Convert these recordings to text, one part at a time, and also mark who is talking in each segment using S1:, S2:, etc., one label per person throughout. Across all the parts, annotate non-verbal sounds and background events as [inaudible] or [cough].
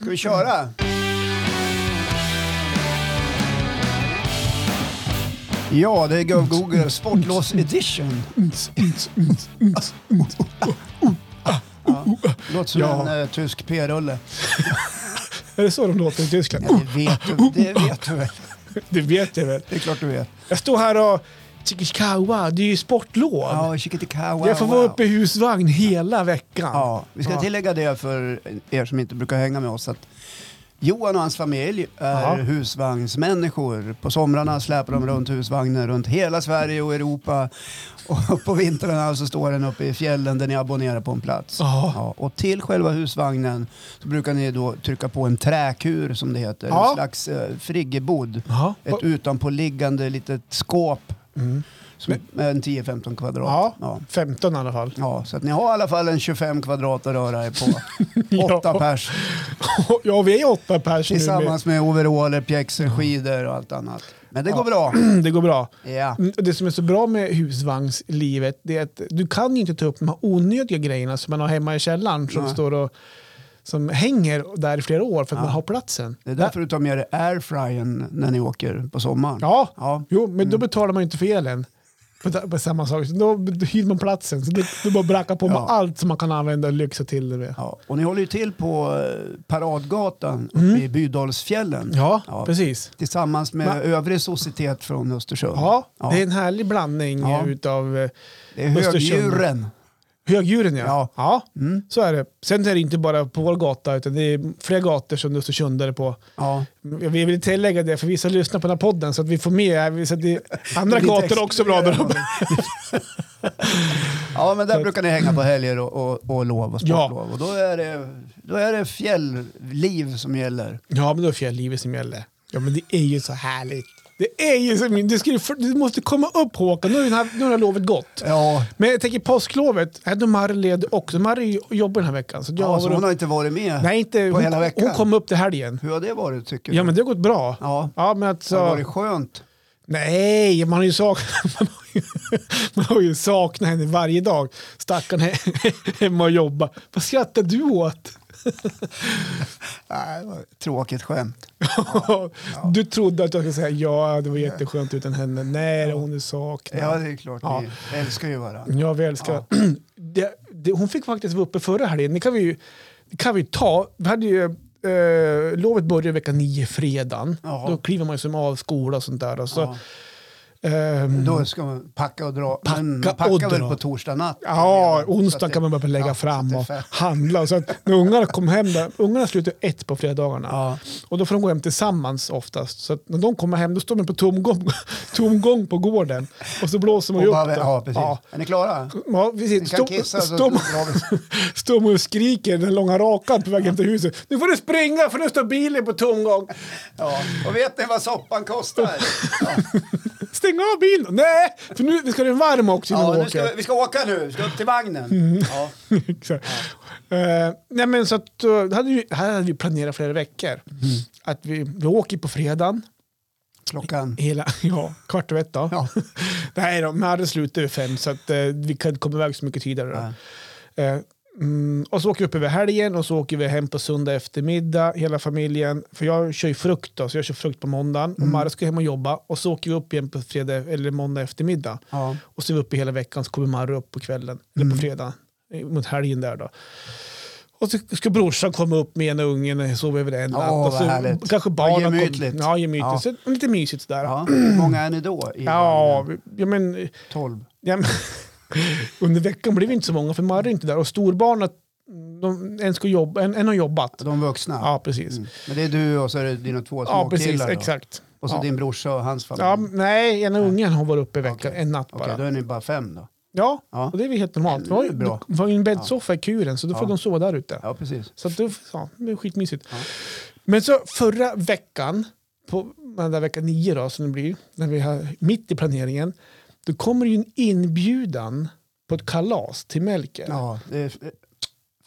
S1: Ska vi köra? Ja, det är Gov Google Sportlovs edition. Ja, låter som
S2: Ja.
S1: en eh, tysk p-rulle.
S2: Är det så de låter i Tyskland?
S1: Ja, det, vet du, det vet du väl?
S2: [laughs] Det vet jag väl.
S1: Det är klart du vet.
S2: Jag står här och... Tjickitjkawa, det är ju sportlov.
S1: Ja, Chikitika,
S2: jag får vara uppe i husvagn hela veckan.
S1: Ja, vi ska
S2: Ja.
S1: tillägga det för er som inte brukar hänga med oss att Johan och hans familj är
S2: Ja.
S1: husvagnsmänniskor. På somrarna släpar de runt husvagnen runt hela Sverige och Europa. Och på vintrarna så står den uppe i fjällen där ni abonnerar på en plats.
S2: Ja.
S1: och till själva husvagnen så brukar ni då trycka på en träkur som det heter.
S2: Ja.
S1: En slags eh, friggebod.
S2: Ja.
S1: Ett utanpåliggande litet skåp.
S2: Mm.
S1: Som är en 10-15 kvadrat.
S2: Ja.
S1: Ja.
S2: 15 i alla fall. [laughs]
S1: Ja, så att ni har i alla fall en 25 kvadrat att röra er på. Åtta
S2: Ja.
S1: pers
S2: Ja, vi är åtta pers nu.
S1: tillsammans med overaller, pjäxor, skidor och allt annat. Men det går
S2: Ja.
S1: bra.
S2: men [clears throat] Det går bra.
S1: Ja.
S2: Mm, och Det som är så bra med husvagnslivet det är att du kan ju inte ta upp de här onödiga grejerna som man har hemma i källaren som,
S1: Nej.
S2: står och, som hänger där i flera år för att
S1: Ja.
S2: man har platsen.
S1: Det är därför du tar med dig airfryern när ni åker på sommaren.
S2: Ja,
S1: Ja.
S2: Jo, men
S1: Mm.
S2: då betalar man ju inte för elen. På, på samma sak. Så Då hyr man platsen. Så det, då bara bracka på med
S1: Ja.
S2: allt som man kan använda och lyxa till det med.
S1: Ja. Och ni håller ju till på eh, Paradgatan uppe i Bydalsfjällen.
S2: Mm. Ja,
S1: Ja.
S2: precis.
S1: Tillsammans med
S2: Va?
S1: övrig societet från Östersund.
S2: Ja,
S1: Ja.
S2: det är en härlig blandning
S1: Ja.
S2: ja. utav eh,
S1: Det är
S2: Östersund.
S1: högdjuren.
S2: högdjuren. Ja.
S1: Ja. Mm.
S2: Ja. så är det. Sen är det inte bara på vår gata, utan det är flera gator som det står sundare på.
S1: Ja.
S2: Jag vill tillägga det, för vissa lyssnar på den här podden, så att vi får med så att det, andra
S1: Det blir
S2: gator
S1: text-
S2: är också bra där uppe.
S1: Ja, men där brukar ni hänga på helger och, och, och lov och
S2: Ja.
S1: sportlov. Och då är, det, då är det fjällliv som gäller.
S2: Ja, men då är fjälllivet som gäller. Ja, men det är ju så härligt. Det är ju så det skulle, för- Du måste komma upp Håkan, nu är det här, nu har det här lovet gått.
S1: Ja,
S2: Men jag tänker påsklovet, äh, då Marie led också. Marie jobbar den här veckan. Så jag
S1: ja så
S2: var-
S1: alltså, hon har inte varit med
S2: nej, inte,
S1: på
S2: hon,
S1: hela veckan.
S2: hon kom upp till helgen.
S1: Hur har det varit tycker du?
S2: Ja, men det har gått bra.
S1: Ja.
S2: men
S1: Har det
S2: alltså,
S1: varit skönt?
S2: nej, man har ju saknat, [laughs] man har ju, man har ju saknat henne varje dag. Stackarn he- [laughs] hemma och jobba. Vad skrattar du åt?
S1: Nej, det var ett tråkigt skämt.
S2: Du trodde att jag skulle säga ja, det var jätteskönt utan henne. Nej, hon är saknad.
S1: Ja, det är klart.
S2: Ja. Mm.
S1: Ni älskar ju varandra.
S2: Ja, vi älskar. [clears throat] Det, det, hon fick faktiskt vara uppe förra helgen. Det kan vi ju det kan vi ju ta. Vi hade ju, eh, lovet började vecka nio fredagen.
S1: Ja.
S2: Då kliver man ju som av skola och sånt där. Och så,
S1: Ja.
S2: ehm,
S1: Då ska man packa och dra.
S2: Packa
S1: men man packar
S2: och
S1: väl
S2: dra.
S1: på torsdag natt?
S2: Ja,
S1: redan. Så
S2: onsdag
S1: att
S2: kan man börja lägga
S1: ja,
S2: fram
S1: så
S2: och
S1: att det är fett.
S2: handla. Så att när ungarna kom hem, där, ungarna slutar ett på fredagarna.
S1: Ja.
S2: Och då får de gå hem tillsammans oftast. Så att när de kommer hem då står man på tomgång, [laughs] tomgång på gården. Och så blåser man
S1: Och
S2: ju
S1: bara,
S2: upp det.
S1: ja, precis. Är ni klara?
S2: Ja,
S1: Ni
S2: precis.
S1: kan
S2: Stå,
S1: kissa så
S2: stå,
S1: drar vi.
S2: står man och skriker den långa rakan på väg hem till huset. Nu får du springa för nu står bilen på tomgång.
S1: Ja. Och vet ni vad soppan kostar?
S2: [laughs]
S1: Ja,
S2: Stäng av bilen! Nej, för nu ska den varm också innan
S1: ja,
S2: du
S1: nu
S2: åker.
S1: ska, vi- vi ska åka nu, vi ska upp till
S2: Mm.
S1: vagnen. Ja.
S2: [laughs] Exakt. Eh, nej men så att, eh, det hade vi, här hade vi planerat flera veckor. Att vi, vi åker på fredagen,
S1: Klockan
S2: hela, [laughs] ja, kvart över ett då.
S1: Ja.
S2: [laughs] nej då, men hade slutar vid fem så att eh, vi kan komma iväg så mycket tidigare. Då. Eh, mm, och så åker vi upp över helgen och så åker vi hem på söndag eftermiddag, hela familjen. För jag kör ju frukt då, så jag kör frukt på måndagen. Och Mara ska hem och jobba och så åker vi upp igen på fredag, eller måndag eftermiddag.
S1: Ja.
S2: Och så är vi uppe hela veckan, så kommer Marre upp på kvällen, eller
S1: Mm.
S2: på fredag, eh, mot helgen där då. Och så ska brorsan komma upp med ena ungen och sova över en
S1: Åh,
S2: natt. och
S1: vad
S2: så
S1: härligt.
S2: kanske barnen kommer-
S1: gemytligt.
S2: Ja, gemytligt.
S1: Ja.
S2: Så lite mysigt sådär.
S1: Ja. Hur många är ni då? I
S2: Ja,
S1: vagnen?
S2: vi- ja, men, [laughs]
S1: Tolv.
S2: ja, men under veckan blir vi inte så många för Marre är inte där. Och storbarnet, de, en, ska jobba, en, en har jobbat.
S1: De vuxna?
S2: Ja, precis.
S1: Mm. Men det är du och så är det dina två
S2: Ja, precis.
S1: småkillar? då?
S2: Exakt.
S1: Och så
S2: ja.
S1: din brorsa och hans familj?
S2: Ja,
S1: Okej,
S2: nej, ena ungen har varit uppe i veckan, en natt bara.
S1: då är ni bara fem då?
S2: Ja,
S1: Ja.
S2: och det är väl helt normalt.
S1: Det
S2: Det
S1: är
S2: var ju,
S1: bra.
S2: det var ju en bäddsoffa i kuren, så då får
S1: Ja.
S2: de sova där ute.
S1: Ja, precis.
S2: Så att det, ja, det är skitmysigt. Men så förra veckan, på den där vecka nio då, som det blir, när vi har, mitt i planeringen, då kommer det ju en inbjudan på ett kalas till Melker. Ja.
S1: Ja, det är,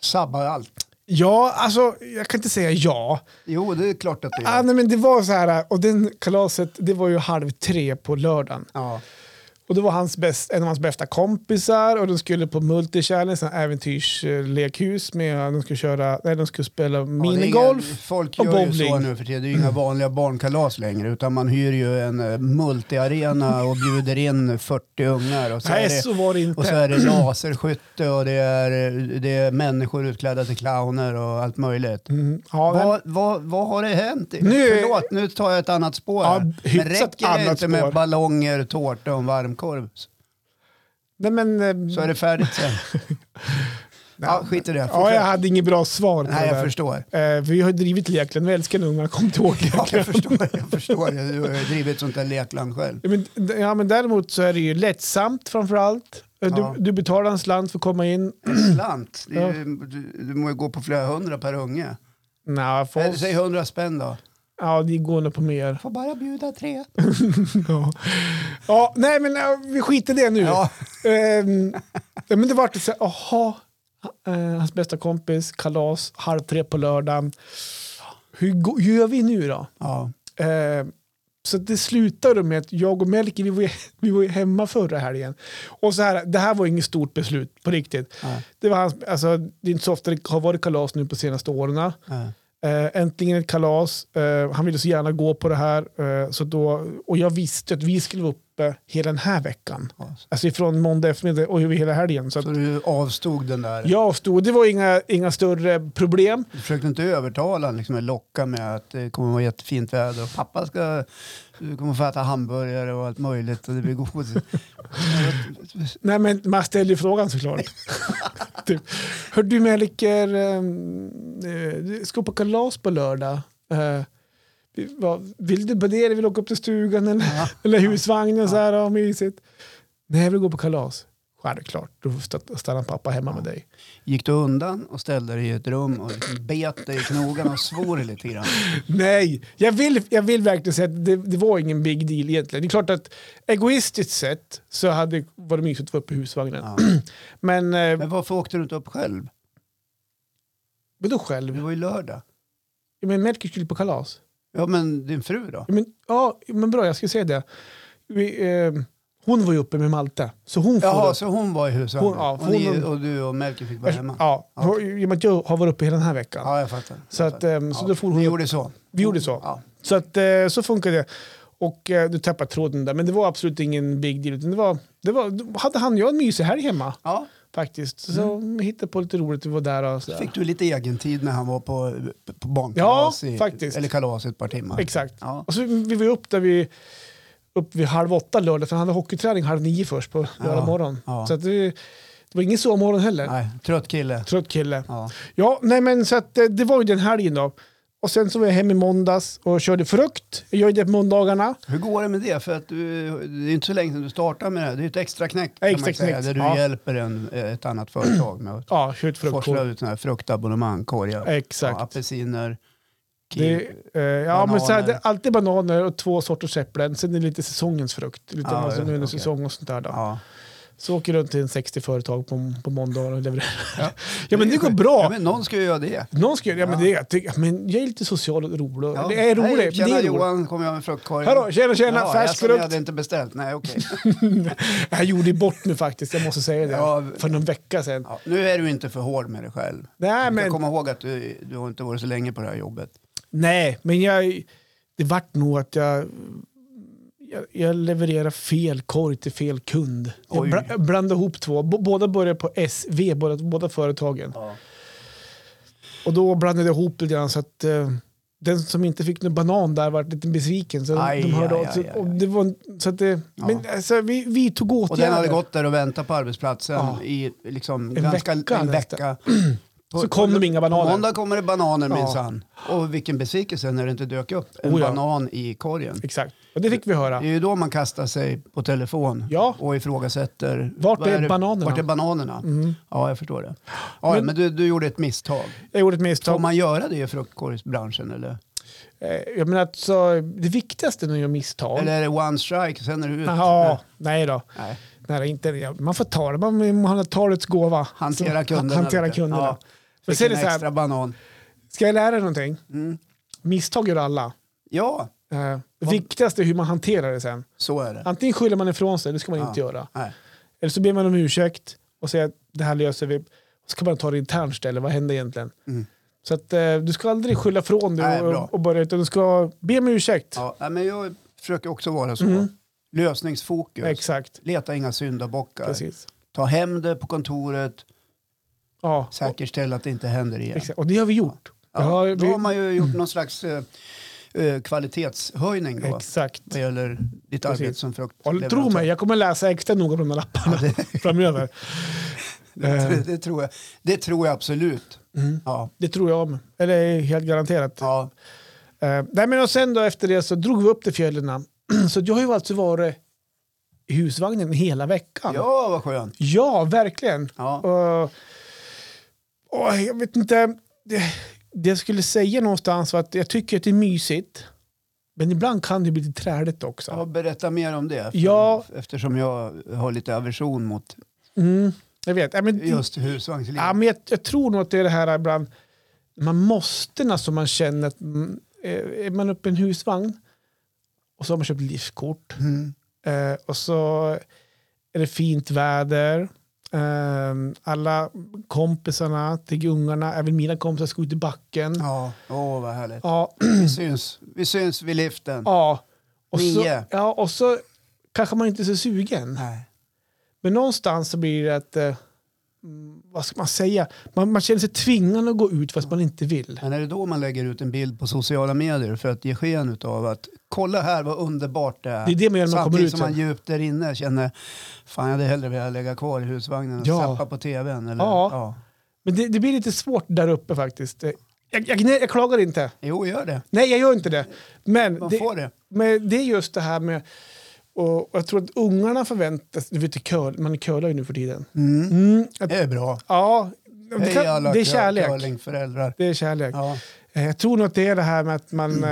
S1: sabbar allt.
S2: alltså jag kan inte säga ja.
S1: Jo, det är klart att det
S2: Ah,
S1: är.
S2: nej, men det var så här, och den kalaset, det var ju halv tre på lördagen.
S1: Ja.
S2: Och det var hans bäst, en av hans bästa kompisar och de skulle på multi-challenge, en äventyrslekhus. Med, de, skulle köra, nej, de skulle spela
S1: Ja, det är ingen-
S2: minigolf
S1: Folk
S2: och
S1: gör ju så
S2: bowling.
S1: nu för tiden. Det är ju inga vanliga barnkalas längre utan man hyr ju en eh, multiarena och bjuder in 40 ungar. Och så är
S2: Nej,
S1: det,
S2: så var det inte.
S1: och så är det laserskytte och det är, eh, det är människor utklädda till clowner och allt möjligt.
S2: Mm, ja, men-
S1: Vad, vad, vad har det hänt?
S2: Nu-
S1: Förlåt, nu tar jag ett annat spår.
S2: Ja,
S1: här. Men
S2: hyfsat
S1: räcker det
S2: annat
S1: inte med
S2: spår.
S1: ballonger, tårta och en varmkorv
S2: nej, men, eh,
S1: så är det färdigt sen.
S2: [laughs]
S1: ja, skit i det.
S2: ja,
S1: Fortsätt.
S2: jag hade inget bra svar på
S1: Nej,
S2: det
S1: jag
S2: där. [laughs]
S1: förstår.
S2: Eh, vi har ju drivit Lekland, vi älskar när ungarna kommer till
S1: Ja,
S2: Åklöken.
S1: jag förstår. Jag förstår. Du har ju drivit sånt där lekland själv.
S2: [clears throat] Ja, [laughs] men, d- ja, men däremot så är det ju lättsamt framför allt. Eh, Du,
S1: Ja.
S2: du betalar en slant för att komma in.
S1: slant. Det är, ju- du, du må ju gå på flera hundra per unge.
S2: Nej, för
S1: Eller
S2: oss,
S1: Säg hundra spänn då.
S2: ja, det går nog på mer.
S1: Får bara bjuda tre.
S2: [laughs] Ja. Ja, nej, men eh, vi skiter i det nu.
S1: Ja,
S2: Ehm, ja, men det vart så här, aha, eh, hans bästa kompis, kalas, halv tre på lördagen. Hur, gå- hur gör vi nu då?
S1: ja.
S2: Eh, så det slutade med att jag och Melker, vi var, ju- [laughs] vi var ju hemma förra helgen. Och så här, det här var inget stort beslut på riktigt.
S1: Nej.
S2: Det, var hans, alltså, det är inte så ofta det har varit kalas nu på senaste åren. Eh,
S1: ja.
S2: äntligen ett kalas. Eh, han ville så gärna gå på det här. Eh, så då, och jag visste att vi skulle vara uppe hela den här veckan.
S1: ja.
S2: Alltså ifrån måndag eftermiddag och över hela helgen. Så att
S1: Så du avstod den där.
S2: jag avstod, det var inga, inga större problem.
S1: Du försökte inte övertala honom, liksom, eller locka med att det kommer att vara jättefint väder och pappa ska, du kommer få äta hamburgare och allt möjligt och det blir godis. [laughs]
S2: Nej men man ställer ju frågan såklart. typ. Hör du Melker, eh, eh, ska på kalas på lördag. Eh, vi- vad- vill du badera, vill du åka upp till stugan eller,
S1: Ja.
S2: [laughs] eller husvagnen? Så här, ja, mysigt. Nej, jag vill gå på kalas. Självklart, då st- stannar pappa hemma med dig.
S1: Gick du undan och ställde dig i ett rum och liksom bet dig i knogarna och svor lite grann?
S2: Nej, jag vill, jag vill verkligen säga att det, det var ingen big deal egentligen. Det är klart att egoistiskt sett så hade var det mysigt att vara uppe i husvagnen.
S1: Ja.
S2: [clears throat] Men, eh,
S1: Men varför åkte du inte upp själv?
S2: vadå
S1: Det
S2: själv?
S1: var ju lördag.
S2: Ja, Men Melker skulle på kalas.
S1: Ja, men din fru då?
S2: Ja, Men, ja, men bra, jag ska säga det. Vi, eh, hon var ju uppe med Malte, så hon får
S1: Jaha,
S2: upp.
S1: så hon var i husvagnen?
S2: Hon- ja,
S1: och, ni,
S2: hon-
S1: och du och Melker fick vara hemma?
S2: Ja, för- i och med att jag har varit uppe hela den här veckan.
S1: Ja, jag fattar.
S2: Så,
S1: Jag
S2: att,
S1: fattar.
S2: ehm, så
S1: Ja,
S2: då for
S1: Ni
S2: hon.
S1: gjorde så?
S2: Vi gjorde så.
S1: Ja.
S2: Så, att, eh, så funkar det. Och eh, du tappar tråden där, men det var absolut ingen big deal. Utan det var, det var, då hade han och jag en mysig helg hemma
S1: ja.
S2: faktiskt. Så vi hittade på lite roligt, vi var där och sådär.
S1: Mm. Fick du lite egen tid när han var på, på barnkalas?
S2: Ja,
S1: i,
S2: faktiskt.
S1: Eller kalas i ett par timmar?
S2: Exakt.
S1: Ja.
S2: Och så vi var ju upp där vi upp vid halv åtta lördag, för han hade hockeyträning halv nio först på lördag
S1: Ja,
S2: morgon.
S1: ja.
S2: Så att det, det var ingen sovmorgon heller.
S1: Nej, trött kille.
S2: Trött kille.
S1: Ja.
S2: Ja, nej men så att eh, det var ju den helgen då. Och sen så var jag hem i måndags och körde frukt. Jag gör ju det på måndagarna.
S1: Hur går det med det? För att du, det är inte så länge sedan du startade med det här. Det är ett extra knäck, kan
S2: Extra
S1: man säga,
S2: knäck,
S1: där du
S2: ja.
S1: hjälper en, eh, ett annat företag med att
S2: Ja, kör ut
S1: forsla
S2: [clears throat] fruktkorv.
S1: ut såna här fruktabonnemang, korgar. Ja,
S2: Exakt.
S1: apelsiner, kiwi.
S2: Det, eh, ja, men så här, det
S1: Bananer.
S2: är alltid bananer och två sorters äpplen. Sen är det lite säsongens frukt. Lite
S1: Ja,
S2: vad som
S1: ja,
S2: är under
S1: okej.
S2: säsong och sånt där. Då.
S1: Ja.
S2: Så åker jag runt till en 60 företag på, på måndagar och levererar.
S1: Ja.
S2: [laughs] Ja. men det går
S1: Ja,
S2: bra.
S1: men någon ska ju göra det.
S2: Någon ska göra ja, men
S1: Ja.
S2: det. Jag, tycker, men jag är lite social och rolig.
S1: Ja.
S2: Det
S1: Hej,
S2: är roligt.
S1: Tjena
S2: det är roligt.
S1: Johan, kommer jag med fruktkorgen.
S2: Hallå, tjena, tjena,
S1: Ja,
S2: färsk
S1: jag som jag
S2: frukt.
S1: hade inte beställt. Nej, okej.
S2: Jag gjorde ju bort mig faktiskt, jag måste säga det.
S1: Ja.
S2: För någon vecka sedan.
S1: Ja, nu är du inte för hård med dig själv.
S2: Nej,
S1: Du ska
S2: men,
S1: komma ihåg att du, du har inte varit så länge på det här jobbet.
S2: nej, men jag, det vart nog att jag, jag, jag levererade fel korg till fel kund. Jag
S1: Oj.
S2: bla, jag blandade ihop två. B- båda började på SV, båda, båda företagen.
S1: Ja.
S2: Och då blandade jag ihop lite grann så att eh, den som inte fick någon banan där var lite besviken. Så
S1: Aj,
S2: de hörde
S1: aj,
S2: av sig.
S1: aj, aj,
S2: Och det var, en- så att det,
S1: Ja.
S2: Men alltså, vi, vi tog
S1: Och den hade
S2: åtgärder.
S1: gått där och väntat på arbetsplatsen
S2: Ja.
S1: i liksom,
S2: En
S1: ganska
S2: vecka
S1: en
S2: nästan.
S1: vecka. På-
S2: [clears throat] Så kom
S1: på-
S2: de inga
S1: på
S2: bananer.
S1: Måndag kommer det bananer
S2: Ja.
S1: minsann. Och vilken besvikelse när det inte dök upp en
S2: Oh ja.
S1: banan i korgen.
S2: Exakt, och det fick vi höra.
S1: Det är ju då man kastar sig på telefon
S2: Ja.
S1: och ifrågasätter.
S2: Vart
S1: vad
S2: är bananerna? Mm.
S1: Vart är bananerna? Ja, jag förstår det. Ja, men
S2: Men-
S1: du, du gjorde ett misstag.
S2: Jag gjorde ett
S1: Får
S2: misstag.
S1: man göra det i fruktkorgsbranschen eller?
S2: Eh, Jag menar, alltså, det viktigaste när jag gör misstag...
S1: Eller är det one strike, sen är du ut?
S2: Jaha, nej då.
S1: Nej.
S2: Nej, inte, man får ta det, man, man har talets gåva.
S1: Hantera
S2: Så,
S1: kunderna
S2: Hantera
S1: lite.
S2: kunderna.
S1: Ja.
S2: Men
S1: Fick
S2: sen är
S1: en
S2: det så
S1: extra
S2: här,
S1: banan.
S2: ska jag lära er någonting?
S1: Mm.
S2: Misstag gör alla.
S1: Ja,
S2: Eh, det viktigaste är hur man hanterar det sen.
S1: Så är det.
S2: Antingen skyller man ifrån sig, det ska man
S1: Ja.
S2: inte göra.
S1: Nej.
S2: Eller så ber man om ursäkt och säger att det här löser vi. Och så kan man ta det internt istället, vad händer egentligen?
S1: Mm.
S2: Så att, eh, du ska aldrig skylla ifrån
S1: Nej,
S2: dig
S1: bra.
S2: och, och börja, utan du ska be om ursäkt.
S1: Ja, nej, men jag försöker också vara så.
S2: Mm.
S1: Lösningsfokus.
S2: Exakt,
S1: Leta inga syndabockar.
S2: precis.
S1: Ta hem det på kontoret.
S2: Ja. Och,
S1: Säkerställ att det inte händer igen.
S2: exakt. och det har vi gjort. Det
S1: Ja,
S2: har
S1: då
S2: vi, Mm.
S1: har man ju gjort någon slags eh, eh, kvalitetshöjning då.
S2: exakt.
S1: Vad gäller ditt
S2: Precis.
S1: arbete som frukt.
S2: Och tro mig, jag kommer läsa extra noga på de där lapparna [laughs] framöver.
S1: [laughs] Det, det, tror jag. det tror jag absolut.
S2: Eh. Mm.
S1: Ja.
S2: Det tror jag om. Eller helt garanterat.
S1: Ja.
S2: Eh, nej, men och sen då efter det så drog vi upp till fjällen. [clears throat] så jag har ju alltså varit i husvagnen hela veckan.
S1: ja, vad skönt.
S2: Ja, verkligen.
S1: Ja.
S2: Och, och jag vet inte. Det, det jag skulle säga någonstans var att jag tycker att det är mysigt. Men ibland kan det bli lite träligt
S1: Ja,
S2: också.
S1: berätta mer om det.
S2: Ja.
S1: Eftersom jag har lite aversion mot
S2: Mm, jag vet. Ja, men,
S1: just husvagnsliv.
S2: Ja, men jag, jag tror nog att det är det här ibland, man måste alltså man känner att mm, eh, är man uppe i en husvagn och så har man köpt liftkort
S1: Mm.
S2: eh, och så är det fint väder. Eh, alla kompisarna till ungarna, även mina kompisar ska ut i backen. Ja,
S1: Ja, åh vad härligt.
S2: ja,
S1: Vi syns, vi syns vid liften.
S2: Och, så,
S1: Nio.
S2: ja och så kanske man inte är så sugen.
S1: Nej.
S2: Men någonstans så blir det att, eh, mm, vad ska man säga, man, man känner sig tvingad att gå ut fast man inte vill.
S1: Men är det då man lägger ut en bild på sociala medier för att ge sken av att kolla här vad underbart det är.
S2: Det är det man gör när man kommer
S1: Samtidigt
S2: ut
S1: som
S2: sen.
S1: man djupt där inne känner fan jag hade hellre velat lägga kvar i husvagnen och
S2: Ja.
S1: zappa på tvn. Eller,
S2: Ja. Men det, det blir lite svårt där uppe faktiskt. Eh, Jag, jag, nej, jag klagar inte.
S1: Jo, gör det.
S2: Nej, jag gör inte det. Men
S1: Man
S2: det,
S1: får det.
S2: men det är just det här med... Och, och jag tror att ungarna förväntas... Du vet, curl, man curlar ju nu för tiden.
S1: Mm.
S2: Mm, att,
S1: Det är bra.
S2: ja, det,
S1: Hej
S2: kan,
S1: alla
S2: det är
S1: cur-
S2: kärlek.
S1: curlingföräldrar.
S2: Det är kärlek.
S1: Ja.
S2: Eh, Jag tror nog att det är det här med att man...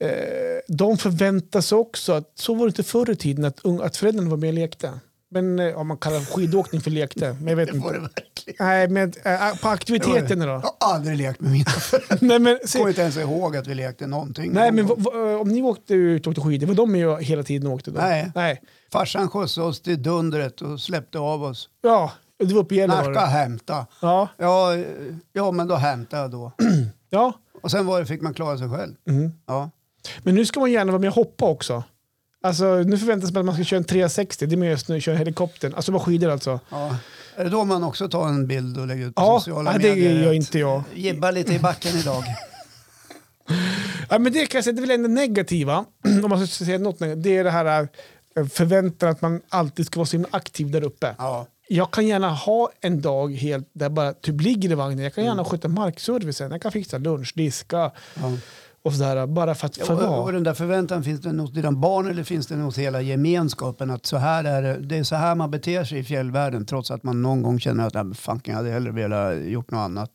S2: eh, Eh, de förväntas också, att, så var det inte förr i tiden, att, unga- att föräldrarna var med och lekte. Men eh, om man kallar skidåkning för lekte. Men jag vet
S1: Det
S2: inte.
S1: får det verkligen.
S2: Nej, men eh, på aktiviteterna då?
S1: Jag har aldrig lekt med mina föräldrar.
S2: Nej, men,
S1: Jag kommer
S2: se,
S1: inte ens ihåg att vi lekte någonting.
S2: nej, men vad- vad- om ni åkte ut och åkte skidor, var de med och hela tiden och åkte då?
S1: Nej.
S2: nej.
S1: Farsan skjutsade oss till dundret och släppte av oss.
S2: Ja, det var uppe i
S1: Narka
S2: Gällivare.
S1: hämta.
S2: Ja,
S1: Ja, eh, ja, men då hämtade jag då.
S2: ja.
S1: Och sen var det, fick man klara sig själv.
S2: Mm.
S1: Ja.
S2: Men nu ska man gärna vara med och hoppa också. Alltså, nu förväntas man att man ska köra en 360, det är mer just nu, köra helikoptern. Alltså bara skidor alltså.
S1: Ja. Är det då man också tar en bild och lägger ut på
S2: Ja,
S1: sociala
S2: nej, det
S1: medier?
S2: gör
S1: att
S2: inte jag.
S1: Jibba lite i backen
S2: [laughs]
S1: idag.
S2: Ja, men det kan jag säga, det är väl ändå negativa, [clears throat] om man ska säga något negativt, det är det här eh, förväntan att man alltid ska vara så himla aktiv där uppe.
S1: Ja.
S2: jag kan gärna ha en dag helt där jag bara typ ligger i vagnen. Jag kan gärna sköta markservicen. Jag kan fixa lunch, diska
S1: Mm. Ja.
S2: och sådär. Bara för att få
S1: Och, och
S2: vara.
S1: den där förväntan, finns den hos dina barn eller finns den hos hela gemenskapen? Att så här är det, det är så här man beter sig i fjällvärlden trots att man någon gång känner att "Nej, men fan, jag hade hellre velat gjort något annat.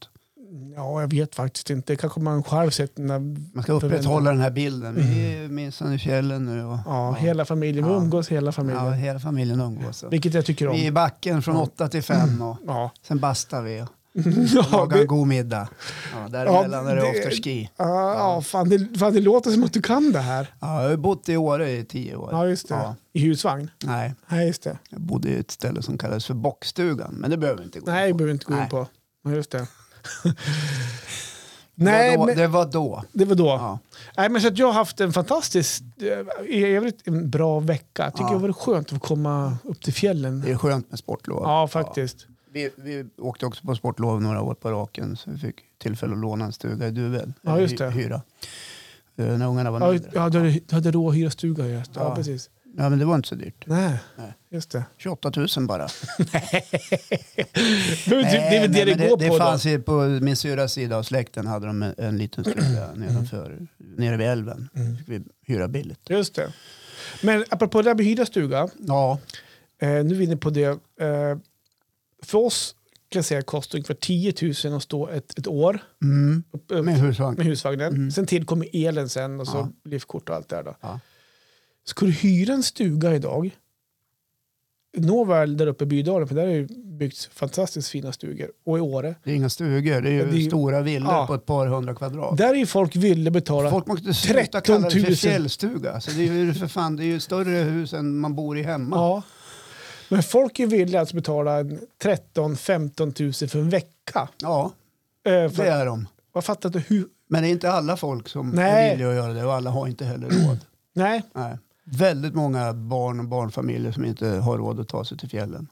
S2: Ja, jag vet faktiskt inte. Kanske man själv sett när,
S1: Man ska upprätthålla den här bilden. Vi är minsann i fjällen nu. Och,
S2: Mm. ja, hela familjen. Vi
S1: Ja.
S2: umgås hela
S1: ja,
S2: familjen.
S1: hela familjen umgås. Och.
S2: Vilket jag tycker
S1: Vi är i
S2: om.
S1: backen från åtta till fem och
S2: Ja.
S1: sen bastar vi och
S2: [laughs] Ja,
S1: lagar en
S2: det,
S1: god middag. Ja, däremellan är det
S2: det-
S1: afterski.
S2: ja, ja, Ah, fan, det, fan, det låter som att du kan det här.
S1: Ja, jag har bott i Åre i tio år.
S2: Ja, just det.
S1: Ja.
S2: I husvagn.
S1: Nej,
S2: Nej, just det.
S1: jag bodde i ett ställe som kallades för Bockstugan, men det behöver vi inte gå
S2: Nej,
S1: in
S2: behöver vi inte gå in
S1: Nej.
S2: på. Ja,
S1: [laughs]
S2: just det.
S1: på. det,
S2: Nej,
S1: var då,
S2: men
S1: det var då.
S2: det var då.
S1: Ja.
S2: Nej, men så att jag har haft en fantastisk, eh, i övrigt en bra vecka. Jag tycker
S1: Ja.
S2: det var skönt att få komma upp till fjällen.
S1: Det är skönt med sportlov.
S2: Ja, faktiskt.
S1: Vi, vi åkte också på sportlov några år på raken så vi fick tillfälle att låna en stuga i Duved.
S2: Ja,
S1: Eller
S2: just det.
S1: hy- Hyra. Eh, När ungarna var
S2: Ja,
S1: mindre.
S2: ja du hade- du hade råd att hyra stuga. Ja. Ja,
S1: Ja.
S2: precis.
S1: Ja, men det var inte så dyrt.
S2: Nej.
S1: Nej. [laughs]
S2: just det.
S1: 28 000 bara.
S2: Det är väl typ- det är väl det
S1: men
S2: det går
S1: det
S2: på då.
S1: fanns ju på min syrras sida av släkten hade de en, en liten stuga nedanför, nere vid älven. Fick vi hyra billigt.
S2: Mm. Just det. Men apropå det där med hyra stuga.
S1: Ja,
S2: Eh, nu är vi inne på det. Eh, för oss kan jag säga kostar ungefär 10 000 att stå ett, ett år
S1: mm.
S2: upp, upp,
S1: med husvagn.
S2: med husvagnen. Sen tillkommer elen sen och så
S1: Mm. Ja.
S2: liftkort och allt det där. Då.
S1: Ja.
S2: Ska du hyra en stuga idag Nåväl där uppe i Bydalen, för där har ju byggts fantastiskt fina stugor. Och i Åre,
S1: Det är inga stugor, det är ju
S2: Ja, det är ju-
S1: stora villor
S2: Ja.
S1: på ett par hundra kvadrat.
S2: där är ju folk ville betala.
S1: Folk måste sluta
S2: 13
S1: kalla det för
S2: 000.
S1: fjällstuga. Så det är ju för fan, det är ju större hus än man bor i hemma.
S2: Ja. Men folk är villiga att betala 13-15 tusen för en vecka.
S1: Ja,
S2: Eh,
S1: det
S2: för,
S1: är de.
S2: jag fattar inte hur...
S1: Men det är inte alla folk som
S2: Nej.
S1: är villiga att göra det och alla har inte heller råd.
S2: Nej,
S1: Nej. Väldigt många barn och barnfamiljer som inte har råd att ta sig till fjällen.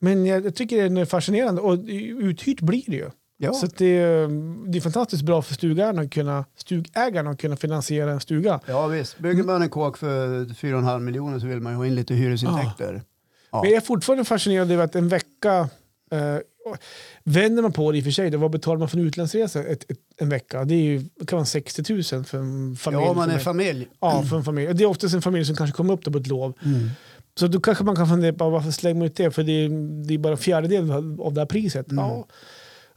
S2: men jag, jag tycker det är fascinerande. Och uthyrt blir det ju.
S1: Ja,
S2: Så att det, är, det är fantastiskt bra för stugägarna att kunna, stugägarna att kunna finansiera en stuga.
S1: ja visst. Bygger man en kåk för 4,5 miljoner så vill man ju ha in lite hyresintäkter. Ja.
S2: Men jag är fortfarande fascinerad över att en vecka, eh, vänder man på det i och för sig, då, vad betalar man för en utlandsresa ett, ett, en vecka? Det är ju, det kan vara 60 000 för en familj.
S1: Ja, man
S2: för
S1: är
S2: mig.
S1: familj.
S2: ja, för en familj. Det är oftast en familj som kanske kommer upp då på ett lov.
S1: Mm.
S2: Så då kanske man kan fundera på varför slänger man ut det? För det är, det är bara en fjärdedel av av det här priset.
S1: Mm.
S2: Ja,